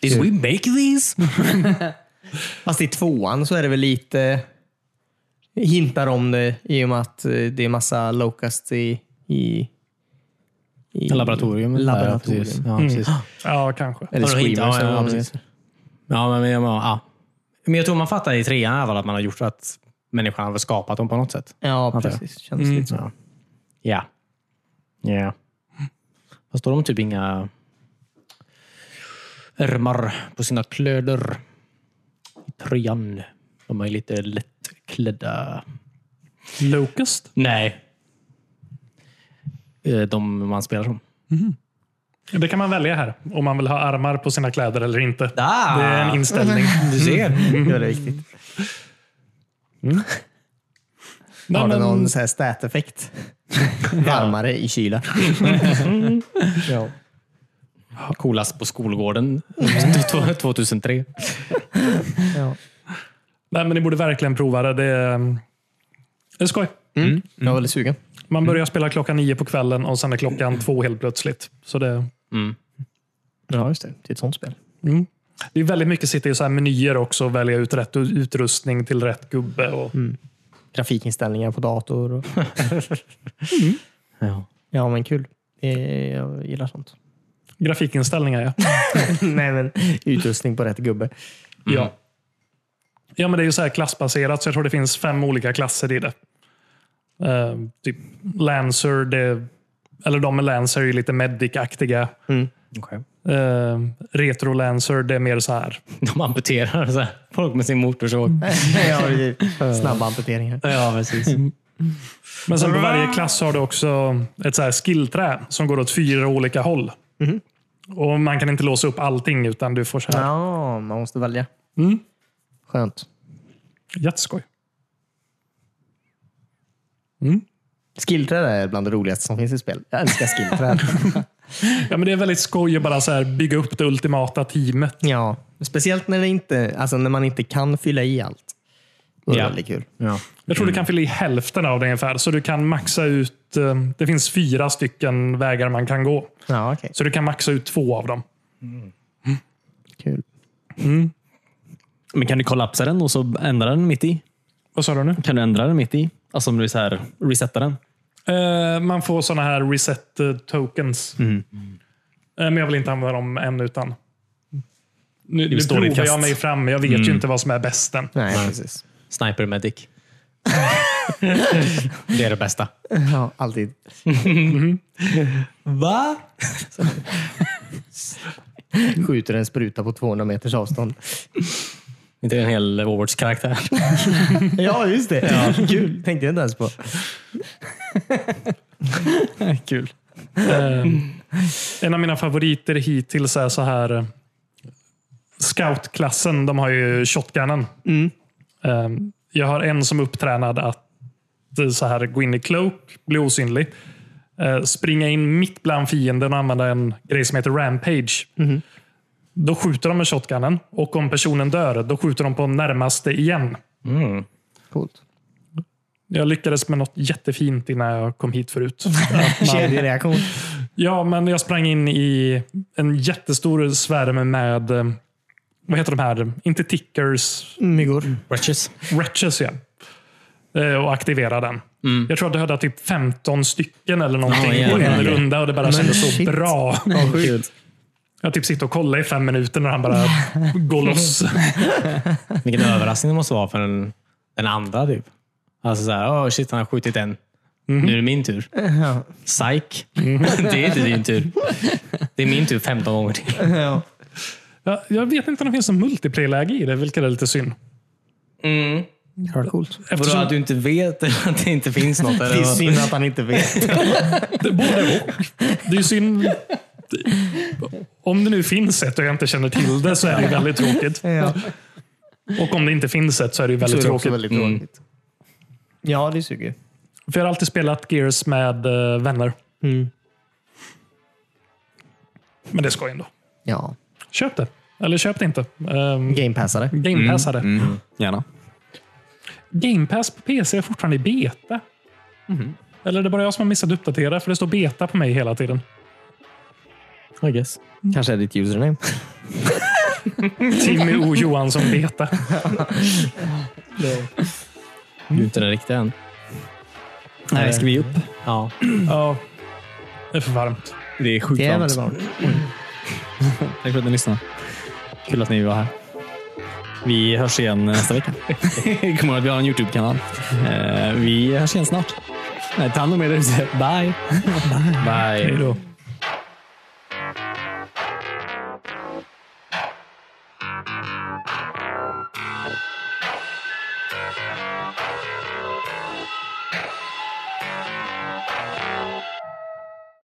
Did we make these? Fast i tvåan så är det väl lite hintar om det i och med att eh, det är massa locust i, i, i Laboratorium. Laboratorium. Ja, precis. Ja, precis. Ja, kanske. Eller Vadå hint? screamers. Ja, eller ja, vad de precis. heter. Ja, men, men, ja. men jag tror man fattar i trean i alla fall att man har gjort att människan har väl skapat dem på något sätt. ja Antar jag. precis. Känns lite så. Ja. Ja. ja. Fast då har de typ inga ärmar på sina kläder. I trean. De är lite lättklädda. Locust? Nej. Eh, De man spelar som. Det kan man välja här. Om man vill ha armar på sina kläder eller inte. Ah! Det är en inställning. Du ser. Ja, det är viktigt. <laughs> Nej, Mm. Har det men- någon så här stat-effekt? <laughs> Varmare i kyla. <laughs> ja. Coolast på skolgården <laughs> 2003. Ja. Nej, men ni borde verkligen prova det. Det är, mm, det är skoj. Mm. Jag var väldigt sugen. Man börjar spela klockan nio på kvällen och sen är klockan två helt plötsligt. Så det, Ja, just det. Det är ett sånt spel. det är väldigt mycket sitta i så här menyer också och välja ut rätt utrustning till rätt gubbe. Och, Grafikinställningar på dator. <laughs> Och... Ja. Ja, men kul. Eh, Jag gillar sånt. Grafikinställningar, ja. <laughs> Nej, men utrustning på rätt gubbe. Ja. ja, men det är ju så här klassbaserat, så jag tror det finns fem olika klasser i det. Eh, typ Lancer, det, eller de med Lancer är ju lite medic-aktiga. Okay. Eh, retro Lancer, det är mer så här. De amputerar så här, folk med sin motorsåg. <laughs> Ja, det är snabba amputeringar. Ja, precis. Men sen på varje klass har du också ett så här skillträ som går åt fyra olika håll. Och Man kan inte låsa upp allting, utan du får så här. Ja, man måste välja. Mm. Skönt. Jätteskoj. Skillträd är bland det roligaste som finns i spel. Jag älskar <laughs> skillträd. Ja, men det är väldigt skoj att bara så här bygga upp det ultimata teamet. ja. Speciellt när, det inte, alltså när man inte kan fylla i allt. Det är Ja. väldigt kul. Ja. Jag tror du kan fylla i hälften av det ungefär. Så du kan maxa ut... eh, Det finns fyra stycken vägar man kan gå. Ja, okej. Så du kan maxa ut två av dem. Kul. Men kan du kollapsa den och så ändra den mitt i? Vad sa du nu? Kan du ändra den mitt i? Alltså om du så här, resetta den? Eh, man får såna här reset eh, tokens. Eh, men jag vill inte använda dem än. utan Nu, nu står ditt provar jag kast. mig fram. Jag vet ju inte vad som är bäst än. Nej, <laughs> precis. Sniper medic. det är det bästa. Ja, <laughs> alltid. Va? <laughs> Skjuter en spruta på 200 meters avstånd. Inte en hel <laughs> Overwatch-karaktär. <laughs> Ja, just det. Kul. Tänkte jag inte ens på. Kul. Eh, en av mina favoriter hittills är så här. eh, Scoutklassen, de har ju shotgunnen. Eh, jag har en som är upptränad att eh, så här, gå in i cloak, bli osynlig, eh, springa in mitt bland fienden och använda en grej som heter rampage. Då skjuter de med shotgunen och om personen dör, då skjuter de på närmaste igen. Mm. Coolt. Jag lyckades med något jättefint innan jag kom hit förut. Kedjereaktion. Ja, men jag sprang in i en jättestor svärm med, eh, vad heter de här, inte tickers, Myggor. Wretches. wretches igen. Eh, Och aktiverade den. Mm. Jag tror att jag hade typ 15 stycken eller någonting Ja, på en jävlar. runda och det bara Men kändes så shit. bra. Jag typ sitter och kollar i fem minuter när han bara går loss. Vilken överraskning det måste vara för den, den andra. Typ. Alltså såhär, oh shit, han har skjutit en. Nu är det min tur. Ja. Psych. <laughs> det är inte din tur. Det är min tur 15 gånger till. Ja. Jag, jag vet inte om det finns en multiplayer-läge i det, vilket är lite synd. Ja, coolt. Vadå, Eftersom Mm. att du inte vet <laughs> att det inte finns något? Eller? Det är vad? synd att han inte vet. det, både och. Det är ju synd. Om det nu finns ett och jag inte känner till det så är det ju väldigt tråkigt. <laughs> Ja. Och om det inte finns ett så är det ju Så är väldigt det också tråkigt. väldigt tråkigt. Mm. Ja, det suger. För jag har alltid spelat Gears med eh, vänner. Men det ska ändå. Ja. Köp det. Eller köp det inte. Um, Gamepassare. Game Pass hade. Gärna. Game Pass på PC är fortfarande i beta. Eller är det bara jag som har missat att uppdatera? För det står beta på mig hela <laughs> tiden. I guess. Kanske är ditt username. Timmy O Johansson <laughs> beta. Du är inte den riktiga än. Nej, ska vi upp? Ja. Ja, det är för varmt. Det är sjukt Det är väldigt varmt. varmt. Tack för att ni lyssnade. Kul att ni var här. Vi hörs igen eh, <laughs> nästa vecka. Kom ihåg att vi har en YouTube-kanal. Eh, Vi hörs igen snart. Eh, Ta hand om er där ute. Bye! Bye. Hej då.